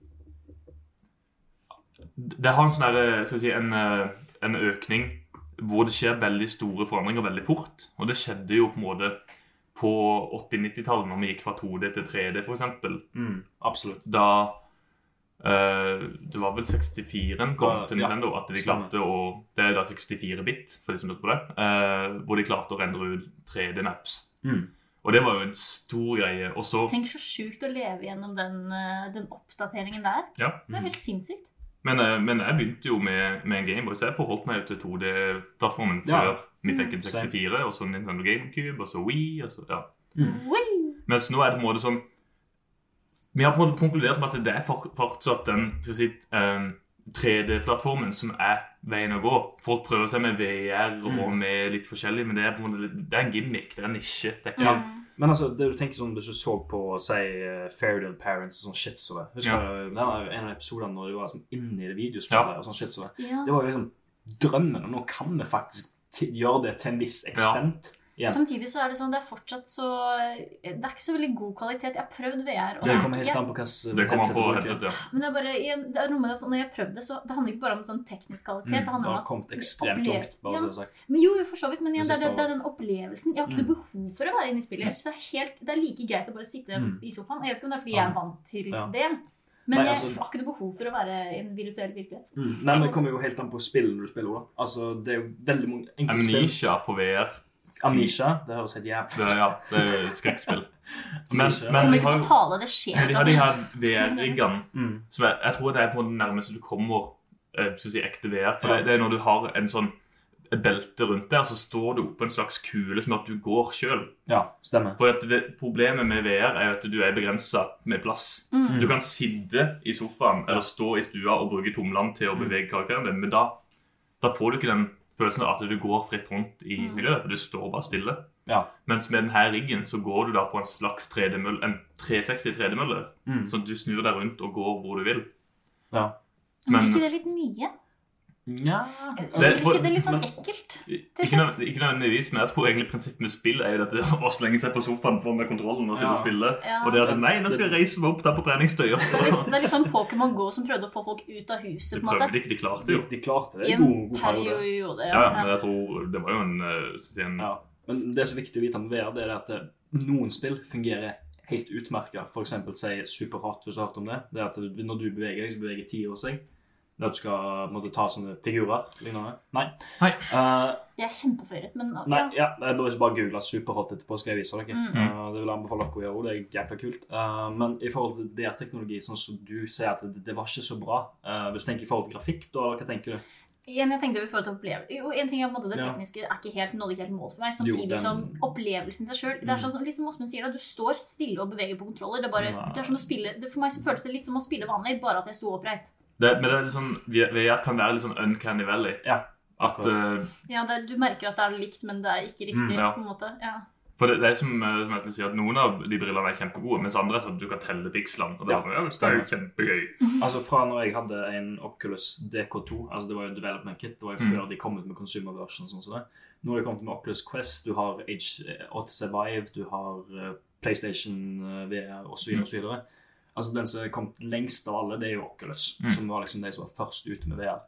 Det har en sånn derre Skal jeg si en, eh, en økning hvor det skjer veldig store forandringer veldig fort. Og det skjedde jo på en måte på 80-90-tallet, når vi gikk fra 2D til 3D, f.eks. Mm, absolutt. da eh, Det var vel 64-en kom Ja, til ja. Nintendo. At de Stemmer. klarte å Det er da 64-bit, for de som lurte på det. eh, hvor de klarte å rendre ut 3D-maps. Mm. Og det var jo en stor greie. Og så Tenk så sjukt å leve gjennom den, eh, den oppdateringen der. Ja. Det er helt sinnssykt. Men, eh, men jeg begynte jo med, med en Gameboy, så jeg forholdt meg jo til 2D-plattformen Ja. før vi fikk Mm. en 64, og så Nintendo GameCube, og så Wii, og så Ja. Mm. Oi! Mens nå er det på en måte sånn Vi har på en måte konkludert med at det er for- fortsatt den skal vi si, eh, 3D-plattformen som er veien å gå. Folk prøver seg med VR og Mm. med litt forskjellig, men det er på en måte litt- det er en gimmick, det er en nisje. Det er ikke Mm. Men altså, det du tenker sånn, hvis du så på, si, eh, Fairytale Parents og sånn shit som det Husker Ja. du den der en av episodene når de var liksom, inne i det videospillet Ja. og sånn shit som det? Ja. Det var jo liksom drømmen, og nå kan vi faktisk ti- gjøre det til en viss ekstent. Ja. Samtidig så er det sånn, det er fortsatt så eh, Det er ikke så veldig god kvalitet. Jeg har prøvd VR. og Det er kommer ikke- helt an på hva som det kommer an på headset du headset, bruker. ja. Men det er bare, jeg- det er noe med det, sånn, når jeg har prøvd det, så det handler ikke bare om sånn teknisk kvalitet. Mm, det det handler har om at kommet ekstremt opple- langt, bare Ja. så det er sagt. Men jo, jo, for så vidt, men igjen, det, Jeg er, det, synes det er den opplevelsen. Jeg har ikke noe behov for å være inne i spillet. Jeg synes det, er helt, det er like greit å bare sitte Mm. i sofaen. Og Jeg vet ikke om det er fordi jeg er vant til Ja. det. Men Nei, altså- jeg har ikke noe behov for å være i en virtuell virkelighet. Mm. Nei, men Det kommer jo helt an på spillet du spiller. da. Altså, Det er jo veldig mange enkelte spill. Amnesia på VR. Amnesia. Det høres helt jævlig Det, er- ja, det er et skrekkspill. Men, Amnesia. Jeg men kommer de ikke har på jo tale, det skjer. de ikke har at de det- her VR-riggene Mm. som jeg, jeg tror det er på det nærmeste du kommer eh, skal vi si, ekte VR. For Ja. det, det er når du har en sånn et belte rundt deg, så står du oppå en slags kule som gjør at du går sjøl. Ja, stemmer. For at det, problemet med VR er jo at du er begrensa med plass. Mm. Du kan sitte i sofaen eller stå i stua og bruke tomlene Mm. til å bevege karakteren din, men da, da får du ikke den følelsen av at du går fritt rundt i Mm. miljøet, for du står bare stille. Ja. Mens med denne riggen så går du da på en slags 3D-mølle, en 360 tredemølle, Mm. sånn at du snur deg rundt og går hvor du vil. ja. Men men- Blir ikke det litt mye? Nja Det- Blir ikke det litt sånn men- ekkelt? Til Ikke, nød, ikke nødvendigvis, men jeg tror egentlig prinsippet med spill er jo dette å slenge seg på sofaen for med kontrollen og sitte og Ja. spille. Ja. Og det at nei, nå skal jeg reise meg opp der på treningstøy og Det er litt, så det er litt sånn Pokémon Go som prøvde å få folk ut av De huset. på en måte. prøvde ikke, de klarte de, jo. de klarte det. I i en God, god periode. periode. Ja, men jeg tror det var jo en, eh, skal jeg si en Ja. Men det som er viktig å vite om VR, det er at eh, noen spill fungerer helt utmerka. F.eks. si superhot, hvis du har hørt om det. Det er at du- når du beveger deg, så beveger tiår seg. Det er at du skal måtte ta sånne figurer. Lignende. Nei. Nei. Eh, Jeg er kjempeforvirret, men ja. nei ja. jeg bør bare google superhot etterpå, skal jeg vise dere. Mm. Eh, det vil jeg anbefale dere å gjøre òg. Det er jækla kult. Eh, men i forhold til DR-teknologi, sånn som du sier at det, det var ikke så bra Eh, Hvis du tenker i forhold til grafikk, da, eller hva tenker du? Igjen, jeg tenkte vi får til oppleve. Jo, en ting er på en måte Det Ja. tekniske er ikke helt, nådde ikke helt mål for meg. Jo, Samtidig den- som opplevelsen i seg sjøl Det er Mm. sånn som litt som Åsmund sier, da, du står stille og beveger på kontroller. Det er bare, Nei. det er som å spille, det, for meg så føles det litt som å spille vanlig, bare at jeg sto oppreist. det, Men det er litt sånn, VR kan være litt sånn uncanny valley. Ja, At, akkurat. eh, Ja, det, Du merker at det er likt, men det er ikke riktig. Mm, ja. på en måte. Ja. for det, det er som, eh, som Edle sier, at noen av de brillene er kjempegode, mens andre er sånn at du kan telle pikslene. Og det, Ja. er, ja, det er jo kjempegøy. Altså Fra når jeg hadde en Oculus DK2 altså Det var jo development kit, det var jo Mm. før de kom ut med consumer version. og Sånn som det. Nå har de kommet med Oculus Quest, du har H8 Vive, du har eh, PlayStation eh, VR osv. Mm. videre Altså Den som har kommet lengst av alle, det er jo Oculus, Mm. som var liksom de som var først ute med VR.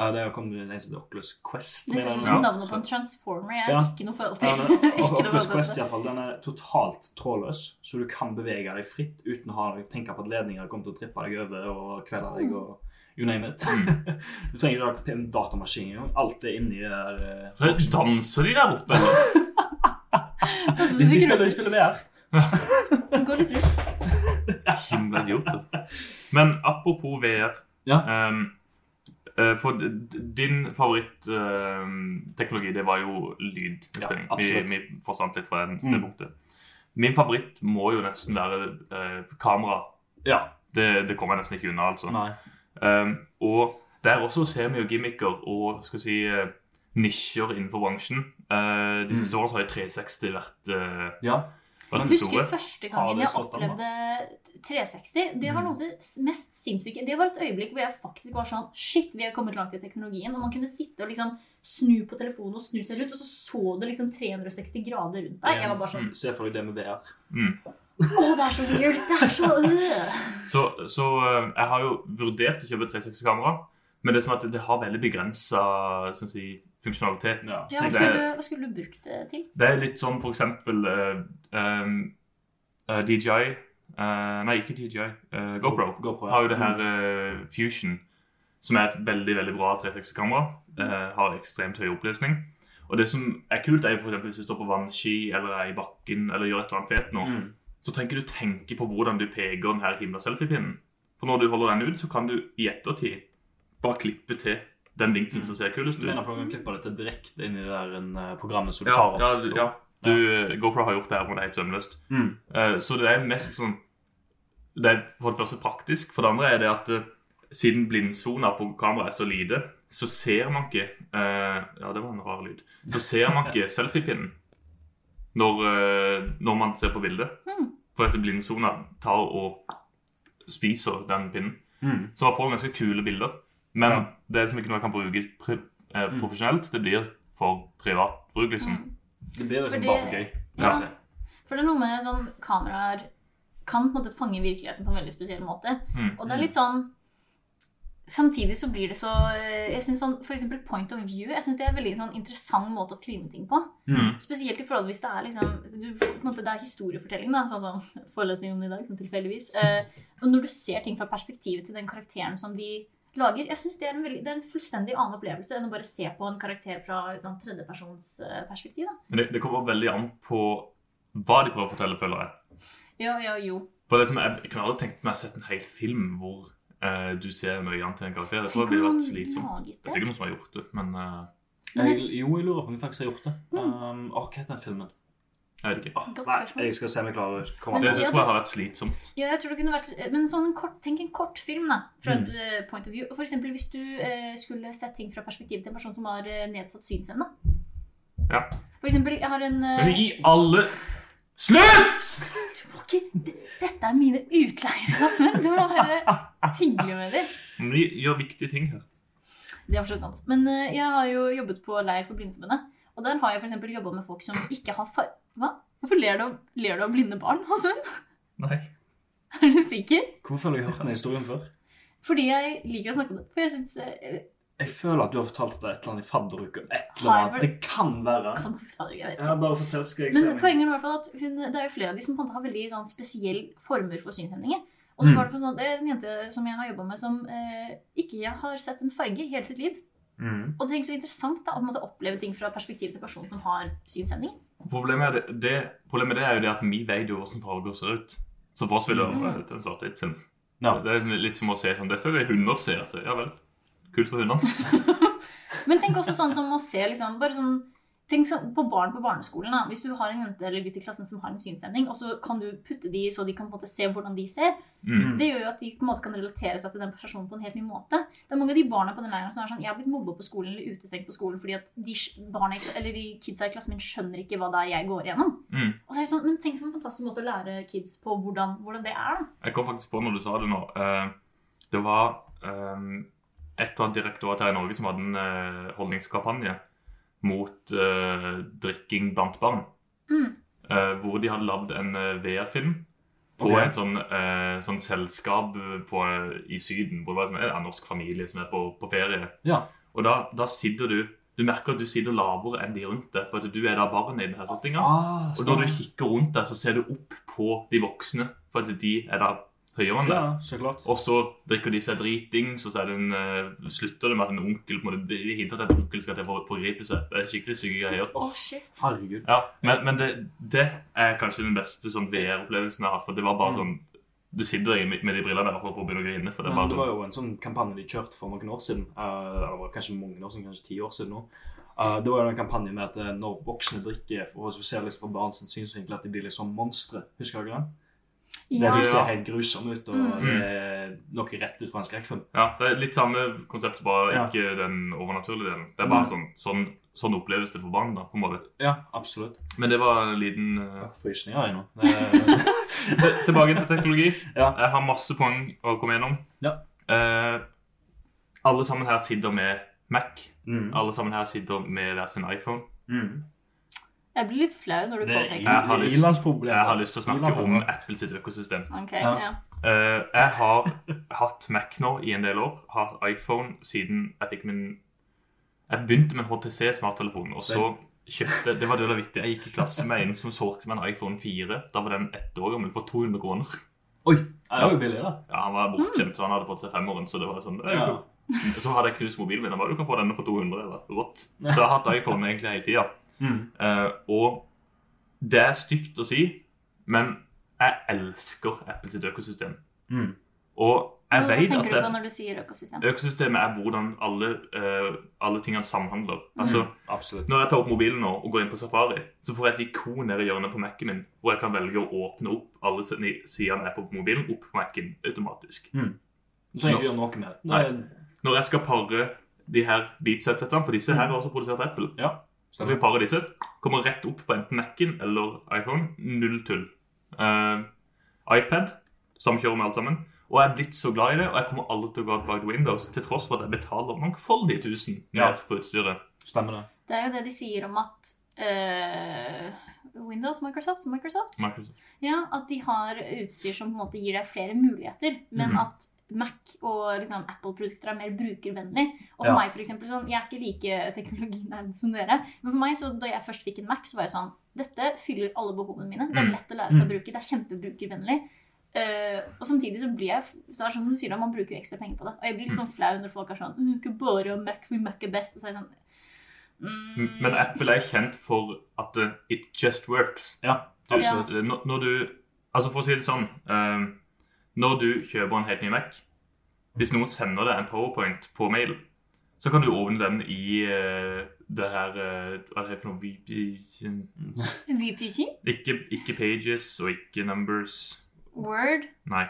Eh, det har kommet den som heter Oculus Quest. Det mener høres ut jeg. som Ja. navnet på en transformer. Jeg Ja. har ikke noe forhold Ja, til. men, Ikke og Oculus noe forhold til Quest i det. hvert fall, den er totalt trådløs, så du kan bevege deg fritt uten å ha, tenke på at ledninger kommer til å trippe deg over og kvele deg og you name it. Mm. du trenger ikke ha en datamaskin engang. Alt er inni der. eh, For det- danser de der oppe? eller? Åsmund De, de sier spiller, gråter. de spiller VR. Den går litt rundt. Himla idioter. Men apropos VR Ja. ehm, eh, For d- d- din favoritteknologi, det var jo lyd. Ja, vi, absolutt. vi forsvant litt fra den, Mm. det punktet. Min favoritt må jo nesten være eh, kamera. Ja. Det, det kommer jeg nesten ikke unna, altså. Nei. Ehm, og der også ser vi jo gimmicker og skal vi si eh, nisjer innenfor bransjen. Eh, de siste årene så har jo 360 vært, Mm. eh, Ja. vært det Husker store. første Har gangen det jeg slått an, da? opplevde 360. Det var Mm. noe av det mest sinnssyke. Det var et øyeblikk hvor jeg faktisk var sånn Shit, vi har kommet langt i teknologien. Og man kunne sitte og liksom snu på telefonen og snu seg rundt, og så så det liksom 360 grader rundt deg. Jeg var bare sånn Se for deg det med VR. Mm. Å, det er så weird! Det er så øh. Så, så eh, jeg har jo vurdert å kjøpe 360-kamera, men det er som at det har veldig begrensa si, funksjonalitet. Ja. Ja, hva Det- skulle, hva skulle du brukt det til? Det er litt sånn for eksempel eh, em, eh, DJI eh, Nei, ikke DJI. eh, GoPro GoPro, ja. har jo det her eh, Fusion, som er et veldig veldig bra 360-kamera. eh, har ekstremt høy oppløsning. Og det som er kult, er jo for eksempel hvis du står på vannski eller er i bakken eller gjør et eller annet fet nå Mm. så trenger ikke du tenke på hvordan du peker den her himla selfie-pinnen. For når du holder den ut, så kan du i ettertid bare klippe til den vinkelen som ser kulest Du ut. mener på at man klipper dette direkte inn i det der eh, programmet som du Ja, tar opp. ja, du- ja. Du, eh, GoPro har gjort det her, men det er helt sømløst. Mm. Eh, Så det er mest sånn Det er for det første praktisk. For det andre er det at eh, siden blindsona på kameraet er så lite, så ser man ikke eh, Ja, det var en rar lyd. Så ser man ikke selfie-pinnen når, eh, når man ser på bildet. Hmm. For at blindsona tar og spiser den pinnen. Mm. Så man får ganske kule bilder. Men Ja. det er liksom ikke noe man kan bruke pri eh, Mm. profesjonelt. Det blir for privat bruk, liksom. Mm. Det blir liksom Fordi- bare for gøy. Ja. Ja. se. For det er noe med sånn kameraer kan på en måte fange virkeligheten på en veldig spesiell måte. Mm. Og det er litt sånn Samtidig så blir det så eh, Jeg synes sånn, For eksempel point of view. Jeg synes det er en veldig sånn interessant måte å filme ting på. Mm. Spesielt i forhold til hvis det er liksom du, på en måte, Det er historiefortelling, da. Sånn som forelesningen i dag, sånn tilfeldigvis. Eh, og når du ser ting fra perspektivet til den karakteren som de lager Jeg synes det er en, veldig, det er en fullstendig annen opplevelse enn å bare se på en karakter fra et sånn tredjepersonsperspektiv. da. Men det, det kommer veldig an på hva de prøver å fortelle, føler jeg. Jo, jo, jo. For det som jeg, jeg kunne aldri tenkt meg å sette en hel film hvor eh, du ser med øynene til en karakter. Jeg tror det Tenk om ville noen vært slitsomt. laget Det er det. sikkert noen som har gjort det, men eh, Jeg, jo, jeg lurer på om vi faktisk har gjort det. Mm. Um, åh, hva heter den filmen? jeg vet ikke. Åh, Godt spørsmål. Ah, nei, jeg skal se om jeg klarer å komme Det, på Men- det. det ja, tror det- jeg har vært slitsomt. Ja, jeg tror det kunne vært Men sånn en kort, tenk en kort film, da. Fra Mm. et eh, point of view. For eksempel hvis du eh, skulle sett ting fra perspektivet til en person som har eh, nedsatt synsevne. Ja. For eksempel, jeg har en eh, Men i alle Slutt! Du må ikke d- Dette er mine altså. utleiere, Asmund. Du må være hyggelig med dem. Men vi gjør viktige ting her. Det er for så vidt sant. Men eh, jeg har jo jobbet på leir for Blindeforbundet. Og der har jeg f.eks. jobba med folk som ikke har far... Hva? Hvorfor ler du, av- ler du av blinde barn, Hasund? Nei. Er du sikker? Hvorfor føler jeg har hørt denne historien før? Fordi jeg liker å snakke om det. For jeg syns eh, Jeg føler at du har fortalt det et eller annet i fadderuka. Et eller annet. Det kan være. kan faktisk farge, jeg vet Ja, bare fortell, skal jeg Men se. poenget er i hvert fall at hun, det er jo flere av de som på en måte har veldig sånn spesielle former for synshemninger. Og så Mm. var det for sånn, det er en jente som jeg har jobba med, som eh, ikke har sett en farge i hele sitt liv. Mm. Og tenk så interessant da, å på en måte oppleve ting fra perspektivet til personen som har synshemning. Problemet, er det, det, problemet med det er jo det at vi vet jo hvordan farger ser ut. Så for oss vil det Mm. være ut en svart-hvitt-film. Ja. Det er litt som å se sånn Dette er det hunder ser. Så, ja vel. Kult for hundene. Men tenk også sånn som å se liksom, bare sånn, tenk sånn på barn på barneskolen. da, Hvis du har en jente eller gutt i klassen som har en synshemning, og så kan du putte de så de kan på en måte se hvordan de ser, Mm. Det gjør jo at de på en måte kan relatere seg til den personen på en helt ny måte. Det er mange av de barna på den leiren som er sånn Jeg har blitt mobba på skolen eller utestengt på skolen fordi at de sk- barna, i- eller de kidsa i klassen min skjønner ikke hva det er jeg går igjennom. Mm. Og så er jeg sånn, Men tenk for en fantastisk måte å lære kids på hvordan, hvordan det er, da. Jeg kom faktisk på når du sa det nå. eh, Det var eh, et av direktoratet her i Norge som hadde en eh, holdningskampanje mot eh, drikking blant barn. Mm. eh, Hvor de hadde lagd en eh, VR-film på Ok. et sånn, eh, sånn selskap på, i Syden. Hvor det var en- en norsk familie som er på, på ferie. Ja. Og da, da sitter du Du merker at du sitter lavere enn de rundt deg. For at du er da barnet i denne settinga. Ah, Og når du kikker rundt deg, så ser du opp på de voksne, for at de er da høyere enn ja, deg. så klart. Og så drikker de seg dritings, og så er det en, eh, slutter det med at en onkel på en måte, de hinter til at en onkel skal til å for- forgripe seg. Det er skikkelig syke greier. Å, shit. Herregud. Ja, men, men det, det er kanskje den beste sånn, VR-opplevelsen jeg har hatt. For det var bare Mm. sånn Du sitter i, med de brillene der og holder på å begynne å grine. For det er Men bare det var sånn, jo en sånn kampanje de kjørte for noen år siden. eh, eller det var kanskje mange år siden, kanskje ti år siden nå. Eh, det var jo en kampanje med at eh, når voksne drikker, for å se liksom fra barns synsvinkel, at de blir liksom monstre. Husker dere den? Ja. Der liksom- de ser helt grusomme ut, og Mm. det er noe rett ut fra en skrekkfilm. ja, det er litt samme konsept, bare Ja. Mm. ikke den overnaturlige delen. Det er bare sånn, sånn, sånn oppleves det for barn. da, på en måte. Ja, absolutt. Men det var en liten eh, Frysninger har jeg nå. Det, Til- Tilbake til teknologi. Ja. Jeg har masse poeng å komme gjennom. Ja. Eh, alle sammen her sitter med Mac. mm. Alle sammen her sitter med hver sin iPhone. Mm. Jeg blir litt flau når du Det er påpeker det. Jeg har lyst- ilandsproblemer. Jeg har lyst til å snakke om Ilandsproblemer. Apple sitt økosystem. Ok, Ja. ja. Eh, jeg har hatt Mac nå i en del år. Har hatt iPhone siden jeg fikk min Jeg begynte med en HTC smarttelefon, og så kjøpte Det var dølla vittig. Jeg gikk i klasse med en som solgte meg en iPhone 4. Da var den ett år gammel for 200 kroner. Oi, jeg er jo billig, da. Ja, han var Mm. bortkjent, så han hadde fått seg femåren. Så det var sånn, det er Ja. jo så hadde jeg knust mobilen min. og bare, Du kan få denne for 200. Eller? What? Så jeg har hatt iPhone egentlig hele tida. Mm. og det er stygt å si, men jeg elsker Apple sitt økosystem. Mm. Og jeg Hva vet tenker at du på det, når du sier økosystem? økosystemet er hvordan alle, eh, alle tingene samhandler. Mm. Altså, Mm. Absolutt. når jeg tar opp mobilen nå og går inn på Safari, så får jeg et ikon nede i hjørnet på Mac-en min, hvor jeg kan velge å åpne opp alle sidene jeg er på på mobilen, opp på Mac-en automatisk. Du trenger ikke gjøre noe med det. det. er- Når jeg skal pare de her beatsetsetene, for disse her er også produsert av Apple Ja. Så jeg skal pare disse, kommer rett opp på enten Mac-en eller iPhone. Null tull. Eh, iPad samkjører med alt sammen. Og jeg er blitt så glad i det, og jeg kommer aldri til å gå tilbake til Windows, til tross for at jeg betaler mangfoldige tusen mer Ja. for utstyret. Stemmer det. Det er jo det de sier om at eh, Windows, Microsoft, Microsoft Microsoft. Ja, at de har utstyr som på en måte gir deg flere muligheter, men Mhm. at Mac og liksom, Apple-produkter er mer brukervennlig. Og for Ja. meg for eksempel, sånn, Jeg er ikke like teknologinerd som dere, men for meg så, da jeg først fikk en Mac, så var jeg sånn Dette fyller alle behovene mine. Det er Mm. lett å lære seg Mm. å bruke. Det er kjempebrukervennlig. Eh, og samtidig så blir jeg så er det sånn som du sier da, man bruker jo ekstra penger på det. Og jeg blir litt Mm. sånn flau når folk er sånn Du skal bare ha Mac, for Mac er best. Og så er jeg sånn mm, Men Apple er kjent for at eh, it just works. Ja, absolutt. Eh, Når, når du Altså For å si det sånn eh, Når du kjøper en helt ny Mac Hvis noen sender deg en powerpoint på mail, så kan du åpne den i eh, det her eh, Hva er det for noe VP, VPG, ikke, ikke pages og ikke numbers. Word Nei.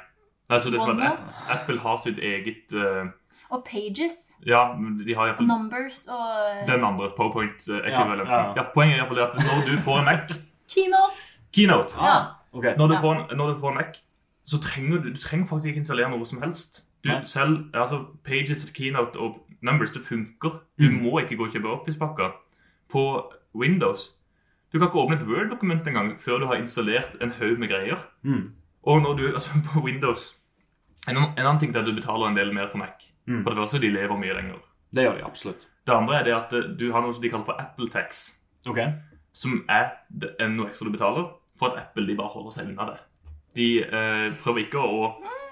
Altså, det er sånn at App- OneNote? Apple har sitt eget eh, og Pages Ja, de har og iallfall Numbers og den andre powerpoint-ekvivalenten. Ja, ja. Ja, poenget er iallfall at når du får en Mac Keynote! Keynote. Ja. Ok. Når du, Ja. får en, når du får en Mac, så trenger du, du trenger faktisk ikke installere noe som helst. Du Nei. selv, altså Pages, Keynote og Numbers, det funker. Du Mm. må ikke gå og kjøpe Office-pakker. På Windows Du kan ikke åpne et Word-dokument engang før du har installert en haug med greier. Mm. Og når du, altså på Windows En, annen- en annen ting er at du betaler en del mer for Mac. Mm. For det første, de lever mye lenger. Det gjør de absolutt. Det andre er det at eh, du har noe som de kaller for Apple tax. Ok. som er det- er noe ekstra du betaler, for at Apple de bare holder seg unna det. De eh, prøver ikke å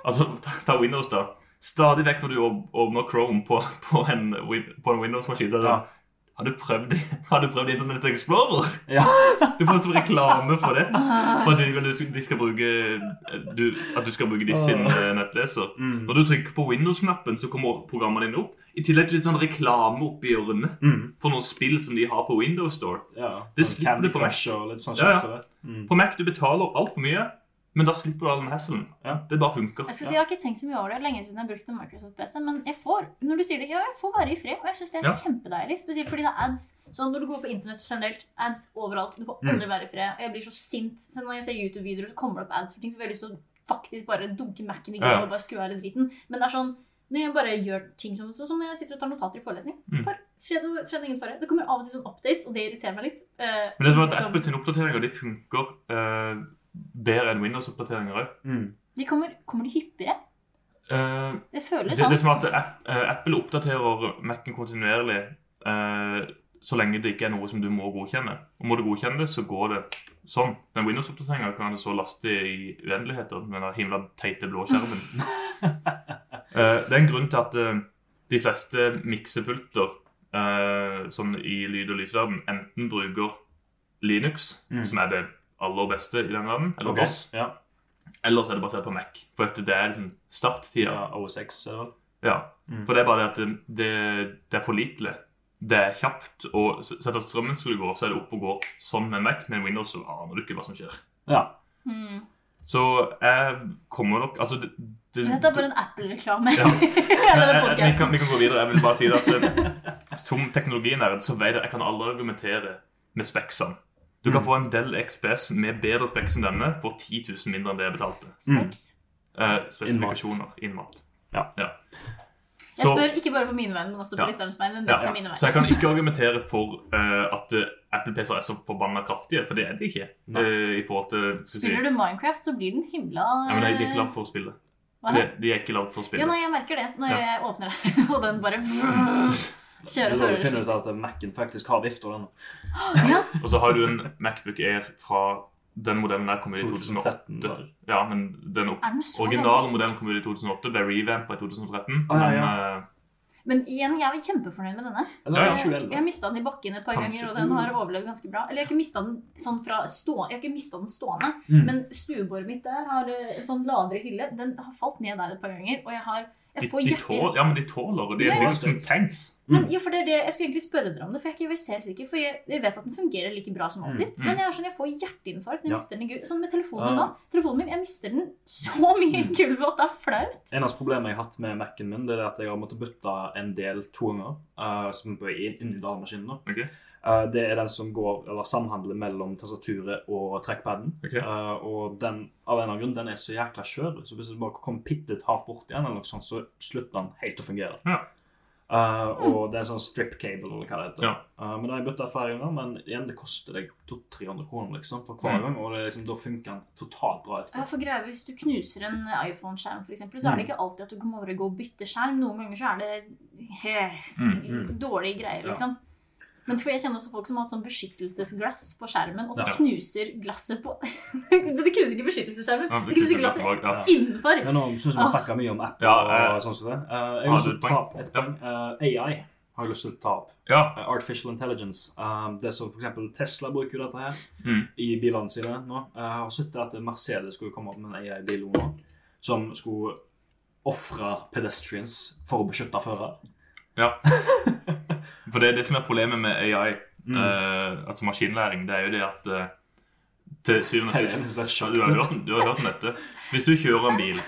Altså, ta, ta Windows, da. Stadig vekk når du åp- åpner Chrome på, på en, Win- på en Windows-maskin, så er det Ja. sånn har du, prøvd, har du prøvd Internet Explorer? Ja. Du får sånn reklame for det. For at de, de skal bruke, du, at du skal bruke de sin eh, nettleser. Mm. Når du trykker på Windows-knappen, så kommer programmene dine opp. I tillegg til litt sånn reklame oppi hjørnet Mm. for noen spill som de har på Windows Store. ja. Det slipper Candy du på Mac. Crush Og litt sånn Ja, ja. kjensel. Mm. På Mac du betaler altfor mye, men da slipper du all den hasselen. Ja. Det bare funker. Jeg skal si, jeg har ikke tenkt så mye over det lenge siden jeg brukte en Microsoft-PC, men jeg får når du sier det, ja, jeg får være i fred, og jeg syns det er Ja. kjempedeilig. Spesielt fordi det er ads. Så når du går på internett generelt, ads overalt. Du får Mm. aldri være i fred. Og jeg blir så sint. Så når jeg ser YouTube-videoer, så kommer det opp ads for ting, så får jeg lyst til å faktisk bare dunke Mac-en i Ja. gulvet og bare skru av hele driten. Men det er sånn når jeg bare gjør ting som, sånn som når jeg sitter og tar notater i forelesning. Mm. For fred og, fred og ingen fare. Det kommer av og til sånn updates, og det irriterer meg litt. Eh, Men det er sånn bare at ting som- Apples oppdateringer de funker eh, bedre enn Windows-oppdateringer òg. Mm. de kommer, kommer de hyppigere? Det det, føles det sånn. liksom. er som at App, eh, Apple oppdaterer Mac-en kontinuerlig eh, så lenge det ikke er noe som du må godkjenne. Og må du godkjenne det, så går det sånn. Den Windows-oppdateringa kan du så laste i uendeligheter med den himla teite blå skjermen. Eh, det er en grunn til at eh, de fleste miksepulter eh, sånn i lyd- og lysverden enten bruker Linux, Mm. som er det aller beste i den verden, eller Ok. DOS, Ja. eller så er det basert på Mac. For at det er liksom starttida. ja. OSX er det vel? Ja, Mm. for det er bare det at det, det, det er pålitelig. Det er kjapt. Og s- sett at strømmen skulle gå, så er det opp og gå sånn med Mac, men Windows så aner du ikke hva som skjer. Ja. Mm. Så jeg kommer nok Altså, det, det Men Dette er bare en Apple-reklame. Ja. Hele den Nei, vi, podcasten. kan, vi kan gå videre. Jeg vil bare si det at eh, som teknologinerd så vet jeg jeg kan aldri argumentere med speksene. Du kan Mm. få en Del XPS med bedre speks enn denne for 10 000 mindre enn det jeg betalte. Speks. Eh, spesifikasjoner. Innmat. Ja. Jeg spør ikke bare på mine vegne, men også på Ja. lytternes vegne. men Ja, mest på mine Så vegne. jeg kan ikke argumentere for eh, at eh, Apple PC-er er så forbanna kraftige, for det er de ikke. Nei. eh, I forhold til skal vi si- Spiller du Minecraft, så blir den himla Nei, men De de er ikke lagd for å spille. Hva? De, de er ikke lagd for å Ja, spille. nei, jeg merker det når Ja. jeg åpner det, og den bare Det kjører er og da du hører sånn. finner ut at Mac-en faktisk har vifta, den. Og så har du en Macbook Air fra den modellen der kom ut i 2008. 2013. var det. Ja, men den opp- Er den så originale modellen kom ut i 2008, ble revampa i 2013. Å, ja, men, eh, gammel? Men igjen, jeg var kjempefornøyd med denne. Eller var Ja, ja. det Jeg 2011? har mista den i bakken et par Kanskje. ganger, og den har overlevd ganske bra. Eller jeg har ikke mista den sånn fra stå... Jeg har ikke mistet den stående, Mm. men stuebordet mitt der har eh, en sånn ladere hylle. Den har falt ned der et par ganger, og jeg har de, jeg får de hjerte... tåler, ja, men de tåler, og de Ja, er ja. jo som tanks. Men, Mm. ja, for det er det, Jeg skulle egentlig spørre dere om det, for jeg er ikke helt selv sikker. For jeg, jeg vet at den fungerer like bra som alltid. Mm, mm. Men jeg, er sånn, jeg får hjerteinfarkt når jeg Ja. mister den i gulvet. Sånn med telefonen min Ja. da. Telefonen min, Jeg mister den så mye i Mm. gulvet at det er flaut. Eneste problemet jeg har hatt med Mac-en min, det er at jeg har måttet bytte en del to ganger. eh, som på inn- inni datamaskinen. da. Ok. Eh, det er den som går, eller samhandler mellom tastaturet og trackpaden. Ok. Eh, og den av en eller annen grunn, den er så jækla skjør, så hvis det bare kommer bitte litt hardt bort igjen, eller noe sånt, så slutter den helt å fungere. Ja. Eh, og det er en sånn strip cable, eller hva det heter. Ja. Eh, men det har jeg bytta flere ganger, men igjen, det koster deg 200-300 kroner liksom, for hver Mm. gang, og det, er liksom, da funker den totalt bra etterpå. Ja, for greia, Hvis du knuser en iPhone-skjerm, for eksempel, så er det Mm. ikke alltid at du kan bare gå og bytte skjerm. Noen ganger så er det he, Mm, mm. dårlige greier, Ja. liksom. Men for Jeg kjenner også folk som har hatt sånn beskyttelsesglass på skjermen, og så Ja. knuser glasset på Men det knuser ikke beskyttelsesskjermen, Ja, det knuser glasset tilbake, ja. innenfor. Ja, nå synes jeg vi snakker mye om app Ja, eh, og sånn som det. Eh, jeg har har lyst du til et å ta opp et poeng. Eh, AI har jeg lyst til å ta opp. ja. Eh, Artificial intelligence. eh, det som for eksempel Tesla bruker jo dette her Mm. i bilene sine nå. Eh, Jeg har sett at Mercedes skulle komme opp med en AI-bil nå, som skulle ofre pedestrians for å beskytte fører. For det er det som er problemet med AI, Mm. eh, altså maskinlæring, det er jo det at eh, til syvende og Jeg sist synes det er Ja, sjokk. du, har hørt, om- du har hørt om dette. Hvis du kjører en bil,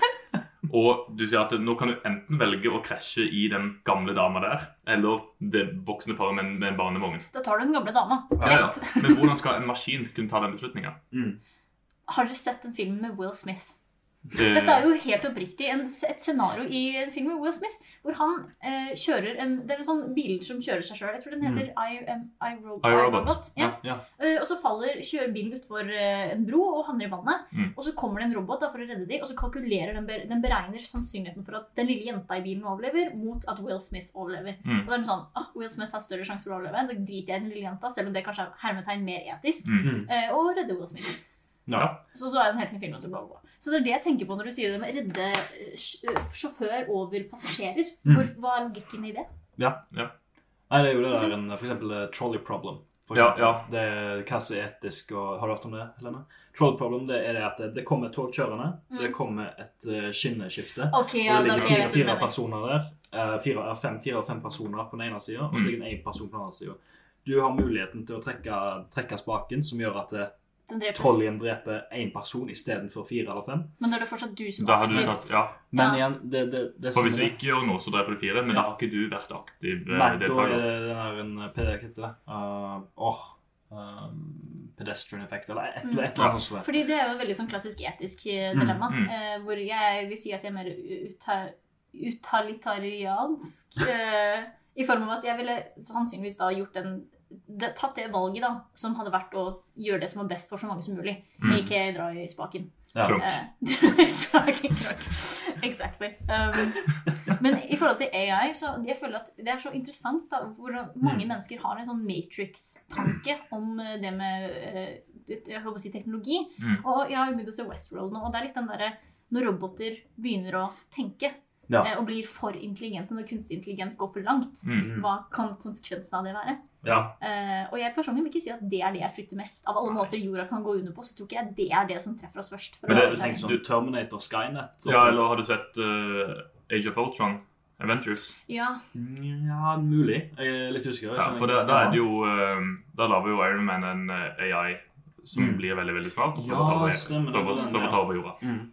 og du sier at nå kan du enten velge å krasje i den gamle dama der, eller det voksne paret med, en- med en barnevogn. Da tar du den gamle dama. Ja, Ja, ja. Men hvordan skal en maskin kunne ta den beslutninga? Mm. Har dere sett den filmen med Will Smith? Det- Dette er jo helt oppriktig en, et scenario i en film med Will Smith, hvor han eh, kjører en Det er en sånn bil som kjører seg sjøl. Jeg tror den heter I, um, I, Ro I, iRobot. Robot. Ja. Mm. Ja. Ja. Eh, og så faller, kjører bilen utfor eh, en bro og havner i vannet. Mm. Og så kommer det en robot da, for å redde dem, og så kalkulerer den, be- den beregner sannsynligheten for at den lille jenta i bilen overlever, mot at Will Smith overlever. Mm. Og da er den sånn ah, Will Smith har større sjanse for å overleve. Da driter jeg i den lille jenta, selv om det kanskje er hermetegn mer etisk. Mm. Mm. eh, og redder Will Smith. Ja. Så, så er det en helt ny film også, bla, bla, bla. Så det er det jeg tenker på når du sier det med redde eh, sj- eh, sjåfør over passasjerer. Mm. Hvor, hva er logikken i det? Nei, det er jo det der en, for eksempel eh, trolley problem. For Ja, eksempel. ja. Det er hva som er etisk, og har du hørt om det, Helene? Trolley problem, det er det at det kommer et tog kjørende, det Mm. kommer et eh, skinneskifte, Ok, ja, og det da ligger ok, fire, jeg vet hva du fire mener. personer der, eh, fire, eh, fem, fire og fem personer på den ene siden, og så Mm. ligger det en person på den andre siden. Du har muligheten til å trekke, trekke spaken, som gjør at eh, Den dreper. trolleyen dreper én person istedenfor fire eller fem. Men da er det fortsatt du som Eh, Da hadde du tatt, ja. Men Ja. igjen, det, det, det For hvis som- du ikke gjør noe, så dreper du fire. Men da Ja. har ikke du vært aktiv eh, Nei, da er deltaker. det den her en eh, P- hva heter det? Uh, åh, um, pedestrian effect, eller et, et eller Ja. annet sånt. Fordi det er jo et veldig sånn klassisk etisk eh, Mm, dilemma. mm. eh, hvor jeg vil si at jeg er mer uta- utalitariansk. eh, I form av at jeg ville sannsynligvis da gjort den det, Tatt det valget, da, som hadde vært å gjøre det som var best for så mange som mulig. Mm. Ikke dra i spaken. Ja. Trump. Eh, Saken knakk. Exactly. Um, men i forhold til AI, så jeg føler at det er så interessant da, hvor mange Mm. mennesker har en sånn Matrix-tanke om eh, det med eh, jeg håper å si teknologi. Mm. Og jeg har jo begynt å se Westworld nå, og det er litt den derre når roboter begynner å tenke Ja. eh, og blir for intelligente, når kunstig intelligens går for langt, Mm. Mm. hva kan konsekvensen av det være? Ja. Eh, og jeg personlig vil ikke si at det er det jeg frykter mest. Av alle måter jorda kan gå under på, så tror ikke jeg det er det som treffer oss først. for Men å Det det- er være jo ærlig. tenkt sånn Terminator, Skynet. så- ja, eller har du sett eh, Age of Ultron? Adventures? Ja, Ja, mulig. Jeg er litt usikker. jeg Ja, skjønner for ikke hva da da jeg er skal det jo eh, Da lager jo Iron Man en eh, AI som Mm. blir veldig, veldig smart. Og Ja, prøver å ta over- stemmer det. prøver- Den, prøver å ja. ta over jorda. ha. Mm.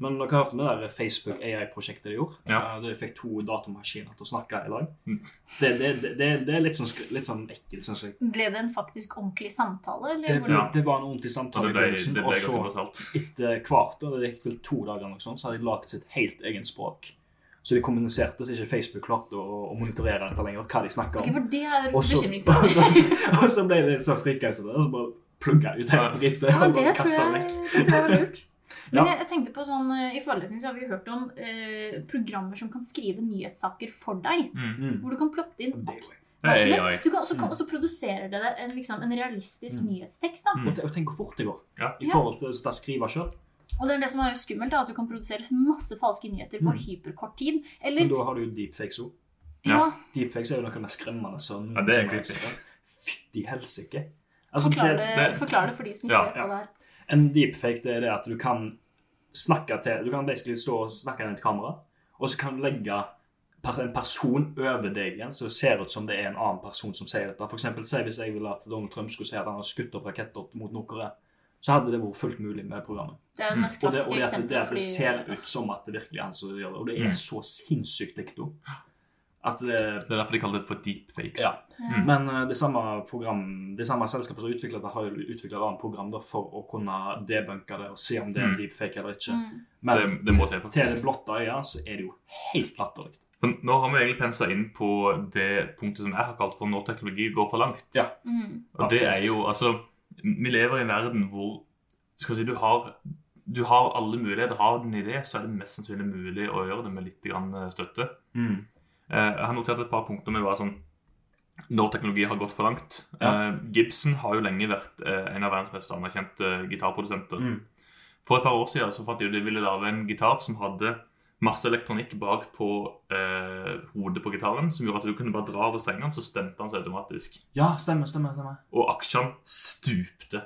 Men dere har hørt om det der Facebook AI-prosjektet de gjorde? Ja. Eh, Der de fikk to datamaskiner til å snakke i lag. Mm. Det, det, det, det, det er litt sånn, sk- litt sånn ekkelt, syns jeg. Ble det en faktisk ordentlig samtale? Eller Det, ble, hvordan- det var en ordentlig Og samtale det i ble, begynnelsen, det og ble ganske så brutalt. etter hvert, og det gikk vel to dager, eller noe sånt, så hadde de laget sitt helt egen språk. Så de kommuniserte, så ikke Facebook klarte å, å monitorere dette lenger, hva de snakka Ok, om. for det er Og så, og, bekymringsfullt. så, og så ble de så frika ut av det, og så bare plugga ut hele drittet Ja, men og det bare tror kasta jeg, det vekk. det tror jeg var lurt. Men Ja. jeg, jeg tenkte på sånn, eh, I forelesning så har vi hørt om eh, programmer som kan skrive nyhetssaker for deg. Mm. Mm. Hvor du kan plotte inn Det er jo- hva som AI. helst. Du kan også, kan, Mm. også produserer det deg en, liksom, en realistisk Mm. nyhetstekst. da. Mm. Og te- og tenk hvor fort det går Ja. i forhold til å skrive sjøl. Og det er det som er jo skummelt, da, at du kan produsere masse falske nyheter på Mm. hyperkort tid. Men Eller da har du jo deepfakes òg. Ja. ja, Deepfakes er jo noe av det mest skremmende som Ja, det er som creepy. helst. Fytti helsike. Altså, det, forklar det, det- forklar det for de som ikke Ja. vet hva det er. En deepfake det er det at du kan snakke til Du kan basically stå og snakke inn i et kamera, og så kan du legge per- en person over deg igjen, så det ser ut som det er en annen person som sier dette. For eksempel, si hvis jeg ville at Donald Trump skulle si at han har skutt opp raketter mot Nord-Korea, så hadde det vært fullt mulig med programmet. Det er Mm. jo det mest Og det, klassiske og det, at, det, eksempelet. at det fordi- ser ut som at det virkelig er han som gjør det, og det Mm. er så sinnssykt likt òg. At det Det er derfor de kaller det for deepfakes. Ja. Ja. Men eh, det samme, program, det samme selskapet som utviklet det, har jo utvikla et annet program da, for å kunne debunke det og se om det er en Mm. deepfake eller ikke. Mm. Men Det, det må til til, det faktisk. blotte øyet så er det jo helt latterlig. Men nå har vi egentlig pensa inn på det punktet som jeg har kalt for når teknologi går for langt. Ja. Mm. Og det er Absolutt. jo, altså, Vi lever i en verden hvor skal vi si, du, har, du har alle muligheter. Har du en idé, så er det mest sannsynlig mulig å gjøre det med litt grann eh, støtte. Eh, Jeg har notert et par punkter med hva sånn når teknologi har gått for langt. Ja. Eh, Gibson har jo lenge vært eh, en av verdens mest anerkjente eh, gitarprodusenter. Mm. For et par år siden så fant de ut de ville lage en gitar som hadde masse elektronikk bak på eh, hodet på gitaren, som gjorde at du kunne bare dra over strengene, så stemte han seg automatisk. Ja, stemmer, stemmer. stemmer. Og aksjene stupte.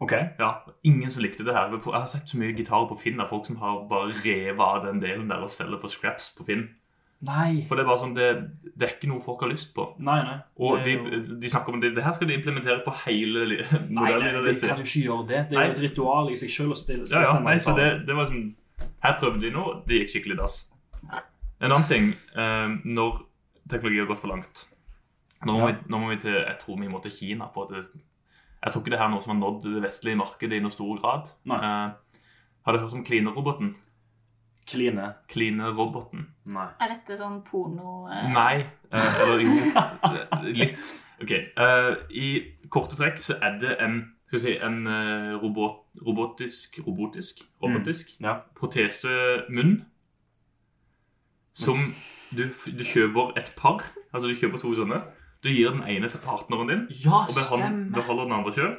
OK. Ja, Ingen som likte det her. Jeg har sett så mye gitarer på Finn av folk som har bare revet av den delen der og selger for scraps på Finn. Nei. For det er bare sånn, det, det er ikke noe folk har lyst på. Nei, nei. Og Det de, er jo- de snakker om det, det her skal de implementere på hele li- Nei, det, modellen. de deres. kan jo ikke gjøre det. Det er jo et ritual i seg sjøl å stille Ja, ja, stemme nei, i så talen. det, det var sånn Her prøvde de noe, det gikk skikkelig dass. En annen ting eh, når teknologi har gått for langt Nå må, vi, nå må vi til Jeg tror vi må til Kina. for at det, Jeg tror ikke det her er noe som har nådd det vestlige markedet i noen stor grad. Nei. Eh, Har du hørt om Kline-roboten? Kline? Kline-roboten. Nei. Er dette sånn porno... eh, Nei. eh, Eller jo, eh, litt. Ok, eh, I korte trekk så er det en, skal vi si, en eh, robot, robotisk, robotisk, robotisk Ja. protesemunn som du, du kjøper et par. Altså du kjøper to sånne. Du gir den ene til partneren din Ja, og behold, beholder den andre sjøl.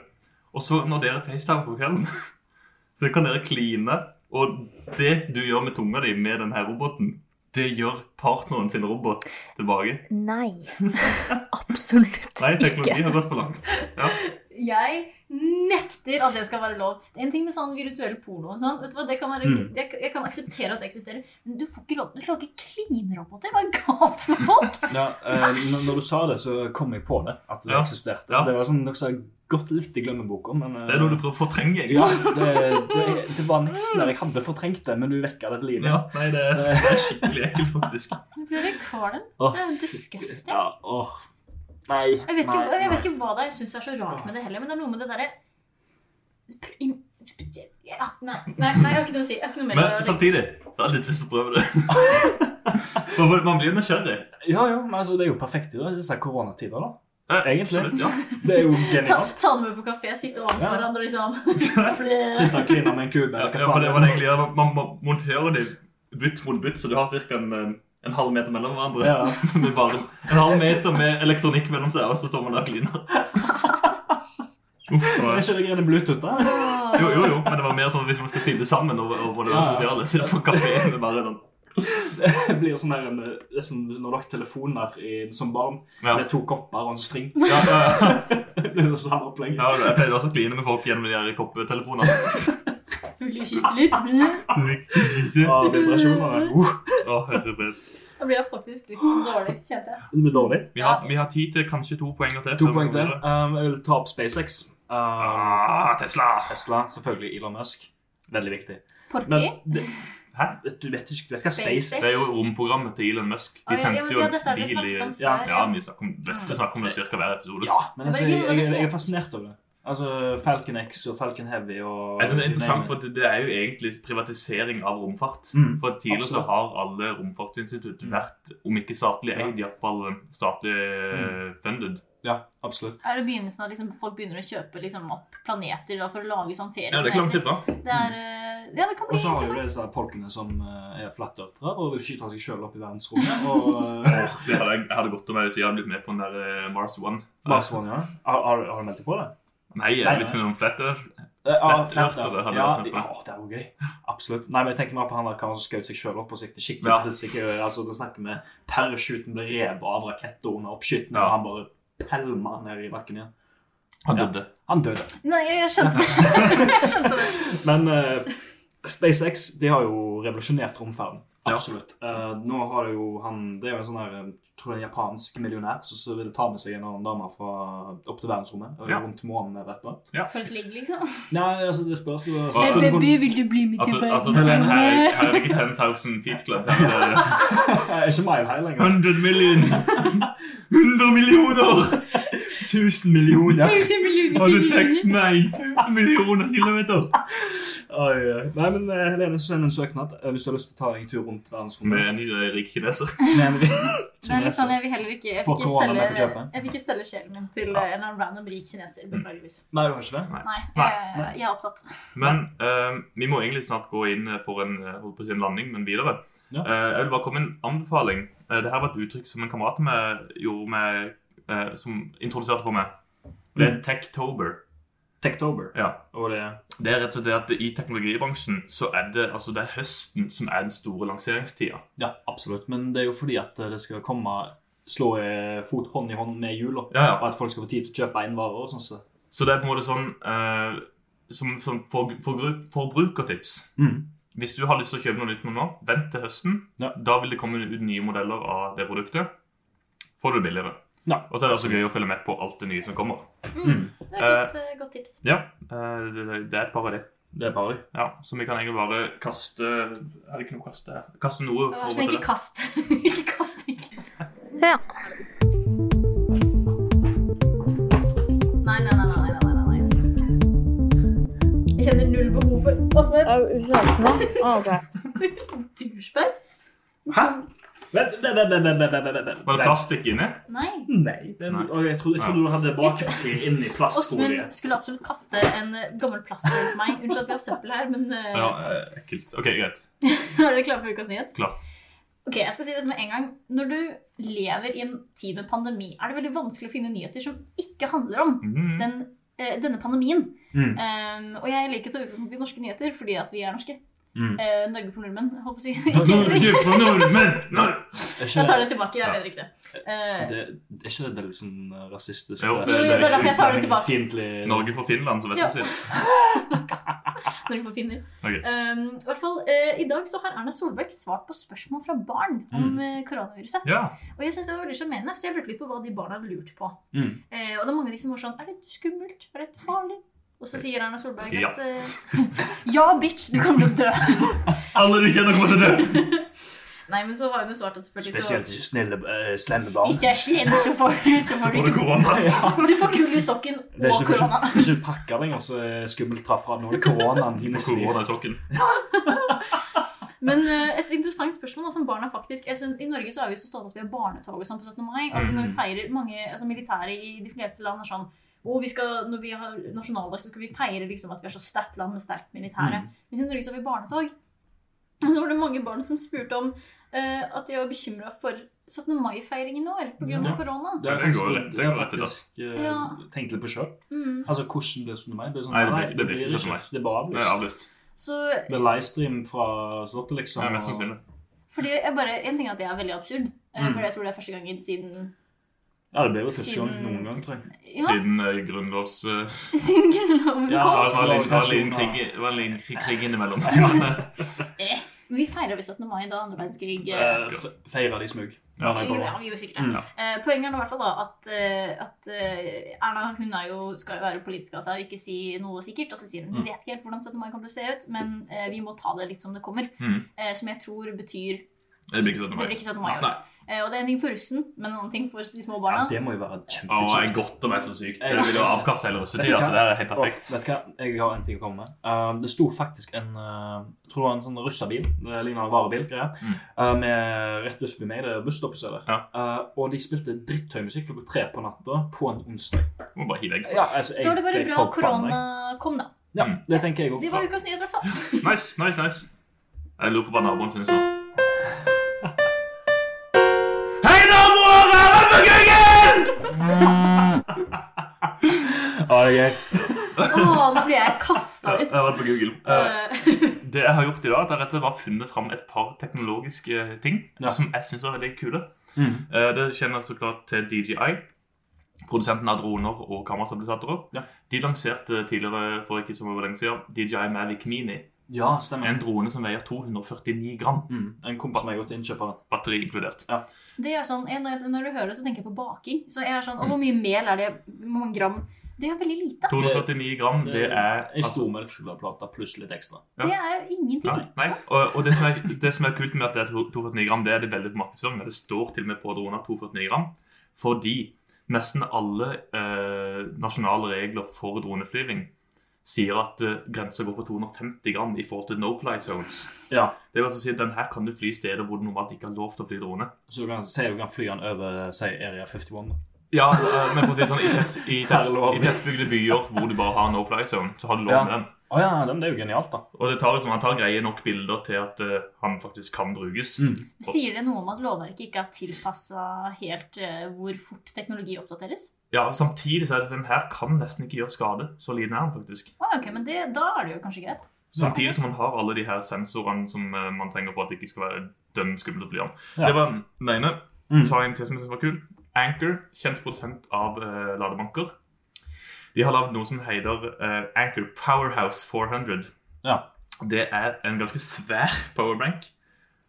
Og så når dere facetimer på kvelden, så kan dere kline. Og det du gjør med tunga di med denne roboten, det gjør partneren sin robot tilbake. Nei. Absolutt Nei, ikke. teknologi har gått for langt. Ja. Jeg nekter at det skal være lov. Det er en ting med sånn virtuell porno og sånn. Vet du hva, det kan være, Mm. jeg, jeg kan akseptere at det eksisterer, men du får ikke lov til å lage klinroboter. Hva er galt med folk? Ja, eh, når, når du sa det, så kom jeg på det. At det Ja. eksisterte. Ja. Det var sånn, Dere har gått litt i glemmeboka, men eh, Det er noe du prøver å fortrenge. egentlig. ja, det, det, det var nesten der jeg hadde fortrengt det, men du vekka det til live. Ja, nei, det er, det er skikkelig ekkelt, faktisk. Jeg blir litt kvalm. Åh. Det er jo disgusting. Ja, åh. Nei. Jeg vet nei, ikke, jeg nei. vet ikke hva det er jeg syns er så rart med det heller, men det er noe med det derre Pr- im- ja, Nei, nei, nei, jeg har ikke noe å si. Jeg har ikke noe mer å Men samtidig så har jeg litt lyst til å prøve det. Man blir- Man blir nysgjerrig. Ja, ja, men altså, Det er jo perfekt i dag, disse koronatider. da. Eh, Egentlig. absolutt, Ja. Det er jo ta, genialt. ta det med på kafé, Ja. sitte overfor hverandre liksom Sitte og kline med en kube. Ja, eller ja, hva for faen det det var er. egentlig ja, Man man monterer de bytt mot bytt, så du har ca. En, eh, en halv meter mellom hverandre. Ja. med bare en halv meter med elektronikk mellom seg, og så står man der og kliner. Uff, det Er var- ikke det greiene bluetooth, da? Åh. jo, jo, jo, men det var mer sånn hvis man skal sitte sammen over, over det Ja, ja. sosiale. Så er det på kafé med bare sånn. den. Det blir sånn her, en, det er som når du har telefoner i, som barn Ja. med to kopper og en string. Ja, ja, ja. Det blir det samme opplegget. ja, jeg pleide også å kline med folk gjennom de her koppetelefonene. Vil du kysse litt? Ja, vibrasjonene. Uh, Å, herre fred. Da blir jeg faktisk litt dårlig, kjente jeg. det blir dårlig. vi, har, vi har tid til kanskje to poenger til. To før vi poeng går til. videre. Um, jeg vil ta opp SpaceX. Um, Ah, Tesla! Tesla, selvfølgelig Elon Musk. Veldig viktig. Porky? Men det, Hæ? du vet ikke vet hva SpaceX? Space Det er jo romprogrammet til Elon Musk. Å, De ja, sendte ja, men jo ja, en dette har dere bil i snakket om Ja, før. Ja, vi snakker om, vet, vi snakker om det cirka hver episode. Ja, men altså, jeg, jeg, jeg er fascinert over det. Altså Falcon X og Falcon Heavy og Jeg synes Altså, det er interessant, for det det er jo egentlig privatisering av romfart. Mm, For tidligere så absolutt. har alle romfartsinstitutt Mm. vært, om ikke statlig Ja. Mm. eid, iallfall statlig eh, funded. Ja, absolutt. Er det begynnelsen av liksom, folk begynner å kjøpe liksom, opp planeter da, for å lage sånn ferie? Ja, det kan man tippe. Det er, eh, ja, det kan Og bli så har jo interessant. det disse folkene som eh, er flatørtere og vil skyte seg sjøl opp i verdensrommet. Og eh, Åh, Det hadde jeg hadde gått om jeg hvis jeg hadde blitt med på den der eh, Mars One. Mars One, ja. Har, har, har du meldt deg på det? Nei, jeg Nei, er liksom noen fletter. Eh, ja, Flatørtere flatørtere. hadde ja, jeg meldt ja, meg på. det er jo gøy. Absolutt. Nei, men jeg tenker mer på han der karen som skjøt seg sjøl opp og siktet skikkelig Ja. helsike. Altså, da snakker vi parachuten ble revet av raketter under oppskytingen, Ja. og han bare pælma ned i bakken igjen. Han Ja. døde. Han døde. Nei, jeg skjønte det. jeg skjønte det. Men eh, SpaceX de har jo revolusjonert romferden. Ja. Absolutt. Eh, nå har det jo han Det er jo en sånn her eh, tror jeg, en japansk millionær som så vil ta med seg en annen dame fra, opp til verdensrommet og Ja. rundt månen eller et eller annet. For et ligg, liksom. Nei, altså, det spørs jo Hva- spørs jo- vil du bli med Altså, altså her, er- her er det ikke 10,000 feet club. Her er det Jeg er Eh, ikke mile high lenger. 100 million! 100 millioner! 1000 millioner! Har du tekst meg? 1000 millioner kilometer! Oi, oi. Nei, men eh, Helene, send en søknad eh, hvis du har lyst til å ta en tur rundt Med verdensrommet. en eh, rik kineser. Med en Det er litt sånn, jeg vil heller ikke Jeg Får fikk ikke korona selge, med på kjøpet. jeg fikk ikke selge sjelen min til eh, en eller annen random rik kineser, beklageligvis. Nei, du har ikke det? Nei, Nei, jeg, jeg er opptatt. Men eh, vi må egentlig snart gå inn for en, eh, holdt på å si en landing, men videre. Ja. Eh, jeg vil bare komme med en anbefaling. Uh, det her var et uttrykk som en kamerat med, gjorde med, eh, som introduserte for meg. Og Det er Techtober. Techtober. Ja. Og det Det er rett og slett det at i teknologibransjen så er det, altså det er høsten som er den store lanseringstida. Ja, absolutt. Men det er jo fordi at det skal komme slå eh, fot hånd i hånd med jula. Ja, ja. Og at folk skal få tid til å kjøpe inn varer og sånn. Så. Så det er på en måte sånn eh, som, som for, for, forbrukertips. Mm. Hvis du har lyst til å kjøpe noe nytt nå, vent til høsten. Ja. Da vil det komme ut nye modeller av det produktet. Får du det billigere. Ja. Og så er det også gøy å følge med på alt det nye som kommer. Mm. Det er et godt, eh, godt tips. Ja, eh, det det- det er et par av det. Det er bare Ja, så vi kan egentlig bare kaste Er det ikke noe å kaste her? Kaste noe Vær så snill, ikke kast. Ikke kast, ikke. Ja. Nei, nei, nei, nei, nei, nei, nei. Jeg kjenner null behov for Åsmund, Er du sliten nå? Ah, ok. douchebag? Hæ? Vent, vent, vent, vent, vent, vent, vent, Var vent. det plastikk inni? Nei. Nei, den, Nei. og jeg trodde, jeg trodde du hadde bakpapir inni plastfolie. Åsmund skulle absolutt kaste en eh, gammel plastball på meg. Unnskyld at vi har søppel her, men eh, Ja, eh, ekkelt. Ok, greit. er dere klare for ukas nyhet? Klart. Ok, jeg skal si dette med en gang. Når du lever i en tid med pandemi, er det veldig vanskelig å finne nyheter som ikke handler om Mhm. den, eh, denne pandemien. Mm. Um, og jeg liker til å utgangspunkt i norske nyheter fordi at vi er norske. Mm. Eh, Norge for nordmenn, holdt på å si. Norge for nordmenn! Nor- Er Jeg tar ikke det tilbake. Jeg Ja. mener ikke det. Eh, det, er ikke det det er litt sånn eh, rasistisk? Jo, det- det er derfor jeg tar det tilbake. Fiendtlig- Norge for Finland, så vet Ja. du sier. Norge for finner. Ok. Um, i, hvert fall, eh, I dag så har Erna Solberg svart på spørsmål fra barn om Mm. eh, koronaviruset. Ja. Og jeg synes det var veldig sjarmerende, så jeg lurte litt på hva de barna hadde lurt på. Mm. Eh, og det er mange av de som var sånn Er dette skummelt? Er dette farlig? Og så sier Erna Solberg Ja. at eh, Ja, bitch, du kommer til å dø. Alle du kjenner kommer til å dø! Nei, men så har hun jo svart at selvfølgelig Spesielt ikke snille, eh, slemme så barn. Hvis du er snill, så får, Så så får du får du ikke korona. Ja. Du får kull i sokken Det er og ikke, det er korona. ikke, det er ikke pakker lenger, så er skummelt traff fra nå. Det er koronaen i neste Korona i sokken. Men eh, et interessant spørsmål da, som barna faktisk jeg synes, I Norge så er vi så stolte at vi har barnetog og sånn på 17. mai. At vi Mm. når vi feirer mange altså militære i de fleste land er sånn og vi skal, når vi har nasjonaldag, så skal vi feire liksom at vi er så sterkt land med sterkt militære. Mm. Mens i Norge så har vi barnetog. Og så var det mange barn som spurte om eh, at de var bekymra for 17. mai-feiringen i år pga. Ja. korona. Det har jeg Det går faktisk, lett- det har jeg det går lett i dag. faktisk eh, Ja. tenkt litt på sjøl. Mm. Altså, hvordan blir 17. mai? Det, er sånn, Nei, det blir- det blir ikke 17. mai. Det er bare Det er avlyst. avlyst. Så Det er livestream fra Slottet, liksom. Det er mest og- sannsynlig. fordi jeg bare, En ting er at det er veldig absurd, eh, Mm. for jeg tror det er første gangen siden Ja, det blir jo første gang Siden- noen gang, tror jeg. Ja, Siden eh, grunnlovs... eh, siden grunnloven Ja, kom. Ja, det var en liten- det var en Personer. liten krig- det var en liten krig- krig innimellom. Eh, men vi feirer vel 17. mai da andre verdenskrig. eh, Eh, fe- Feira de smug. Ja. Nei, Jo, bare- ja, vi gjorde sikkert det. Mm. Eh, Poenget er nå i hvert fall da at, eh, at eh, Erna hun er jo, skal jo være politisk av seg og ikke si noe sikkert. Og så sier hun Mm. vi vet ikke helt hvordan 17. mai kommer til å se ut, men eh, vi må ta det litt som det kommer. Mm. Eh, som jeg tror betyr Det blir ikke 17. Det mai. blir ikke 17. mai i Nei. år. Eh, og det er en ting for russen, men en annen ting for de små Ja, barna. det må jo være Å, jeg kjempekjekt. godter meg så sykt. Jeg vil jo avkaste hele russetida, Vet du hva? så det er helt Å, perfekt. Vet du hva, jeg har en ting å komme med. Eh, det sto faktisk en eh, jeg tror det var en sånn russerbil, det ligner en varebil, greier, Mm. eh, med rett ut forbi meg, det er busstoppet som er der. Eh, og de spilte dritthøy musikk klokka tre på natta på en onsdag. Må bare hive egg. Ja, altså, jeg, Da var det bare jeg bra forbanner meg. korona kom, da. Ja, det tenker jeg Det òg. var ukas nyhet, i hvert fall. Nice, nice, nice. Jeg lurer på hva naboen syns nå. Hei, naboer! Her er Bugøyen! Ja, det er gøy. Å, nå blir jeg kasta Jeg ut. har vært på Google. Eh, Eh, Det jeg har gjort i dag, er at jeg rett og slett bare funnet fram et par teknologiske ting Ja. som jeg syns er veldig kule. Mm. Eh, Det kjenner så klart til DJI, produsenten av droner og kamerastabilisatorer. Ja. De lanserte tidligere for ikke så lenge siden DJI Mavic Mini. ja stemmer. En drone som veier 249 gram, Mm. En kompis som jeg har gått til innkjøp av den. batteri inkludert. Det er sånn, jeg, når, jeg, når du hører det, så tenker jeg på baking. Så jeg er sånn, «Å, Hvor Mm. mye mel er det? Hvor mange gram? Det er veldig lite. 249 gram, det er En altså, stor melkesjokoladeplate pluss litt ekstra. Ja. Det er jo ingenting. Nei, nei. Og, og det, som er, det som er kult med at det er 249 gram, det er det veldig på markedsføringen. Det står til og med på droner 249 gram, fordi nesten alle eh, nasjonale regler for droneflyving sier at eh, grensa går på 250 gram i forhold til no-fly zones. Ja. Det vil altså si at den her kan du fly steder hvor du normalt ikke har lov til å fly drone. Så du kan si du kan fly den over si Area 51. da. Ja, eh, men for å si det sånn, i, tett, i, tett, Her er lov. i tettbygde byer hvor du bare har no-fly zone, så har du lov Ja. med den. Å ja, det det er jo genialt, da. Og det tar, liksom, han tar greie nok bilder til at eh, han faktisk kan brukes. Mm. Sier det noe om at lovverket ikke er tilpassa helt eh, hvor fort teknologi oppdateres? Ja, Samtidig så er det at den her kan nesten ikke gjøre skade. Så liten er den faktisk. Å, ok, men det, Da er det jo kanskje greit. Samtidig som man har alle de her sensorene som eh, man trenger for at det ikke skal være dønn skummelt å fly om. Ja. Det var den ene. Mm. Så har jeg en til som jeg synes var kul. Anchor, kjent produsent av eh, ladebanker. De har lagd noe som heter eh, Anchor Powerhouse 400. Ja. Det er en ganske svær powerbank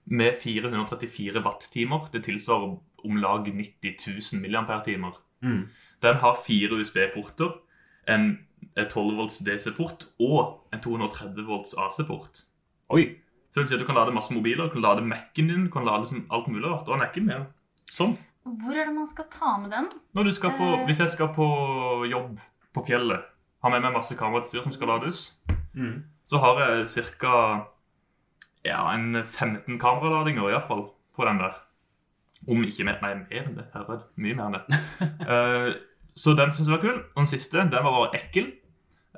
med 434 watt-timer. Det tilsvarer om lag 90 000 milliampere-timer. Mm. Den har fire USB-porter, en 12 volts DC-port og en 230 volts AC-port. Oi. Så det vil si at Du kan lade masse mobiler, du kan lade Mac-en din, du kan lade liksom alt mulig rart. Og den er ikke mer sånn. Hvor er det man skal ta med den? Når du skal på, Eh. hvis jeg skal på jobb på fjellet, Har med meg masse kamerautstyr som skal lades. Mm. Så har jeg ca. Ja, en 15 kameraladinger iallfall på den der. Om ikke mer. Nei, mer enn det. Herregud. Mye mer enn det. Eh, så den syns jeg var kul. Og den siste, den var bare ekkel.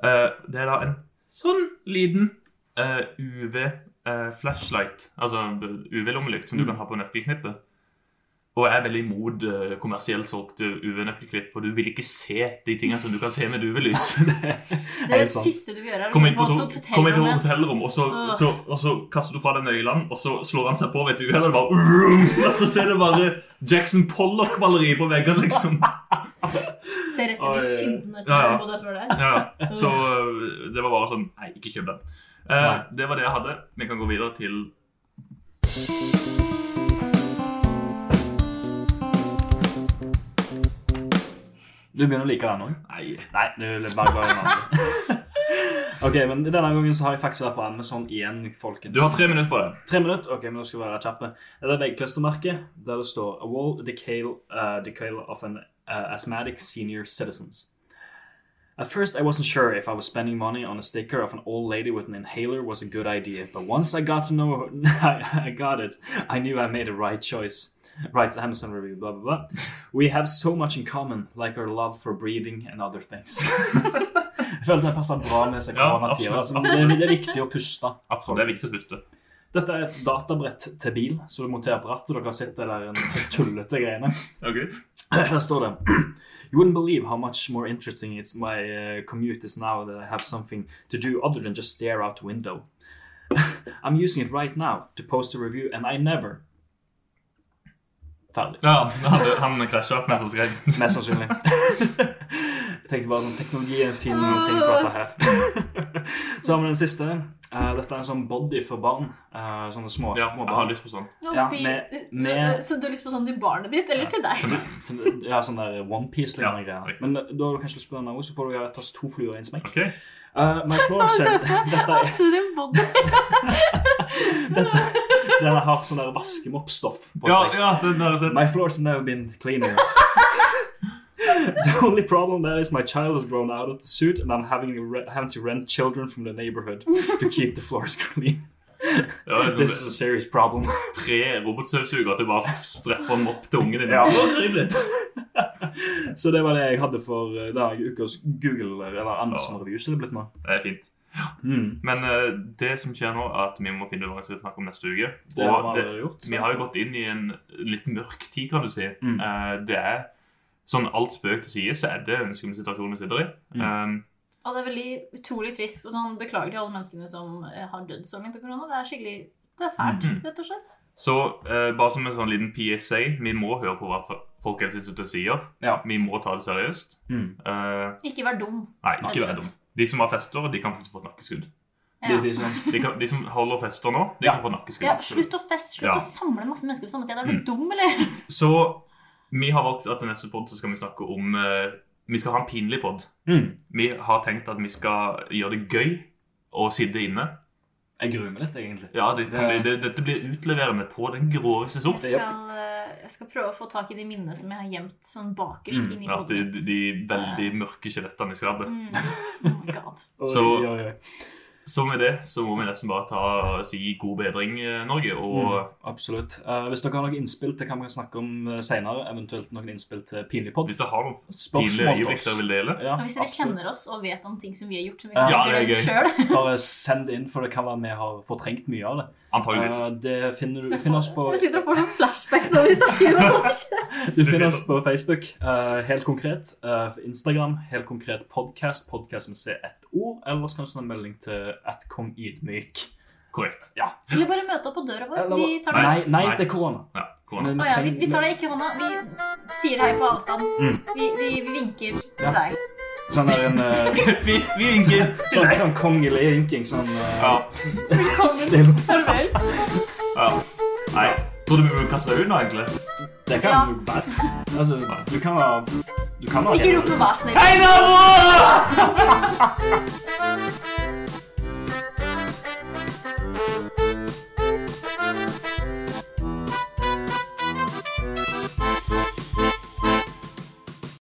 Eh, det er da en sånn liten eh, UV-flashlight. eh, altså UV-lommelykt som du kan ha på nøkkelknippet. Og jeg er veldig imot eh, kommersielt solgte UV-nøkkelklipp, for du vil ikke se de tingene som du kan se med UV-lys. Det er det Helt sant. siste du vil gjøre. sånn. er å Kom inn på, gå do- et sånt kom inn på hotellrom. hotellrom, og så, sånn Åh. så, og så kaster du fra deg nøklene, og så slår han seg på ved et uhell, og det bare vroom, Og så ser du bare Jackson Pollock-maleri på veggene, liksom. Se rett Oi. inn i syndene Ja, til ja, ja. som bodde før deg. Ja, så øh, det var bare sånn Nei, ikke kjøp den. Eh, Nei. det var det jeg hadde. Vi kan gå videre til Du begynner å like den òg? Nei. Nei, det er bare bare en annen. Ok, men denne gangen så har jeg faktisk vært på Amazon igjen, folkens. Du har tre minutter på det. Tre minutter? Ok, men nå skal vi være kjappe. Det er et veggklistremerke der det står A wall decale, uh, decale of an uh, asthmatic senior citizens. At first, I wasn't sure if I was spending money on a sticker of an old lady with an inhaler was a good idea, but once I got to know, I, I got it. I knew I made a right choice. Writes Amazon review, blah blah blah. We have so much in common, like our love for breathing and other things. Jeg føler den passer bra med seg Ja, koronatida. absolutt. altså. det, det er viktig å puste. Absolutt. Det er viktig å puste. Dette er et databrett til bil, så du monterer på rattet. Dere har sett det der en tullete greiene. Her står det You wouldn't believe how much more interesting it's my uh, commute is now that I have something to do other than just stare out the window. I'm using it right now to post a review, and I never Ferdig. Ja, han, han krasja mens han skrev. Mest sannsynlig. Jeg tenkte bare sånn, teknologi er en fin ting for dette her. Så har vi den siste. Eh, dette er en sånn body for barn. Eh, sånne små, Ja, små jeg har barn. lyst på sånn. Nå Ja, blir- med- med- Så du har lyst på sånn til barnet ditt, eller til deg? Sånn- Ja, sånn der OnePiece-lignende Ja, greier. riktig. Men eh, da har du kanskje lyst på den også, så får du gjøre- ta to fluer i en smekk. Ok, Eh, my floor said dette, er- Altså, din body. Den har sånn der vaskemoppstoff på Ja, seg. ja, den der er sett. My floor's never been cleaner. the only problem there is my child has grown out of the suit and I'm having, to re- having to rent children from the neighborhood to keep the floors clean. Ja, det This is a er serious problem. tre robotsausugere at du bare strepper den opp til ungen din. Ja. Det er var trivelig. Så det var det jeg hadde for eh, denne ukas Google eller Amazon Review. Så det er blitt nå. Det er fint. Mm. Men eh, det som skjer nå, er at vi må finne ut hva vi skal snakke om neste uke. Det har Og vi det, allerede gjort. vi har jo gått inn i en litt mørk tid, kan du si. Mm. Eh, det er sånn alt spøk til side, så er det en skummel situasjon vi sitter i. Mm. Um, Og det er veldig utrolig trist. Og sånn, beklager til alle menneskene som eh, har dødd så langt av korona. Det er skikkelig det er fælt, Mhm. rett og slett. Eh, så eh, bare som en sånn liten PSA, vi må høre på hva Folkehelseinstituttet sier. Ja. Vi må ta det seriøst. Mm. Eh, Ikke vær dum. nei, Nei, ikke vær sant. dum. De som har fester, de kan faktisk få nakkeskudd. Det Ja. er de som De, kan, de som holder fester nå, de Ja. kan få nakkeskudd. Ja, slutt å feste, slutt Ja. å samle masse mennesker på samme sted. Er du Mm. dum, eller? Så vi har valgt at i neste podd så skal vi snakke om eh, Vi skal ha en pinlig podd. mm. Vi har tenkt at vi skal gjøre det gøy å sitte inne. Jeg gruer meg litt, egentlig. Ja, det kan bli, Det- det, Dette blir utleverende på den groveste Jeg sort. Det- skal, eh, jeg skal prøve å få tak i de minnene som jeg har gjemt sånn bakerst Mm, inni Ja, de, hodet mitt. de veldig mørke skjelettene i skapet. Mm. Oh my god. Så- Oi, oi, oi. Så med det så må vi nesten bare ta, si god bedring, eh, Norge. Og Mm, absolutt. Eh, hvis dere har noen innspill til hva vi kan snakke om eh, senere, eventuelt noen innspill til pinlig pod, hvis dere har noen pinlige spørsmål til øyeblikk oss. dere vil dele Ja, Og hvis dere absolutt. kjenner oss og vet om ting som vi har gjort som vi Ja, ikke det er gøy. har glemt sjøl Bare send det inn, for det kan være vi har fortrengt mye av det. Antageligvis. Eh, det finner du, du finner oss på, Vi sitter og får sånn flashbacks når vi snakker. om det. du finner oss på Facebook, eh, helt konkret. eh, Instagram, helt konkret podcast, podcast med C ett ord. Eller så kan du sende en melding til at kong ydmyk. Korrekt. Eller bare møte opp på døra vår. Eller- Vi tar det. Nei, Nei, nei, nei. det er korona. Ja, korona. Men Å ja, vi, trenger- vi tar deg ikke i hånda. Vi sier hei på avstand. Mm. Vi, vi, vi vinker Ja. til deg. Sånn der en eh, vi vi vinker. sånn, sånn kongelig ynking. Sånn eh, Ja. stille. Farvel. ja. Nei. Tror du vi burde kaste deg ut nå, egentlig? Det kan Ja. jo være. Altså, du kan være Du kan være Ikke rop noe, vær snill. Hei, nabo!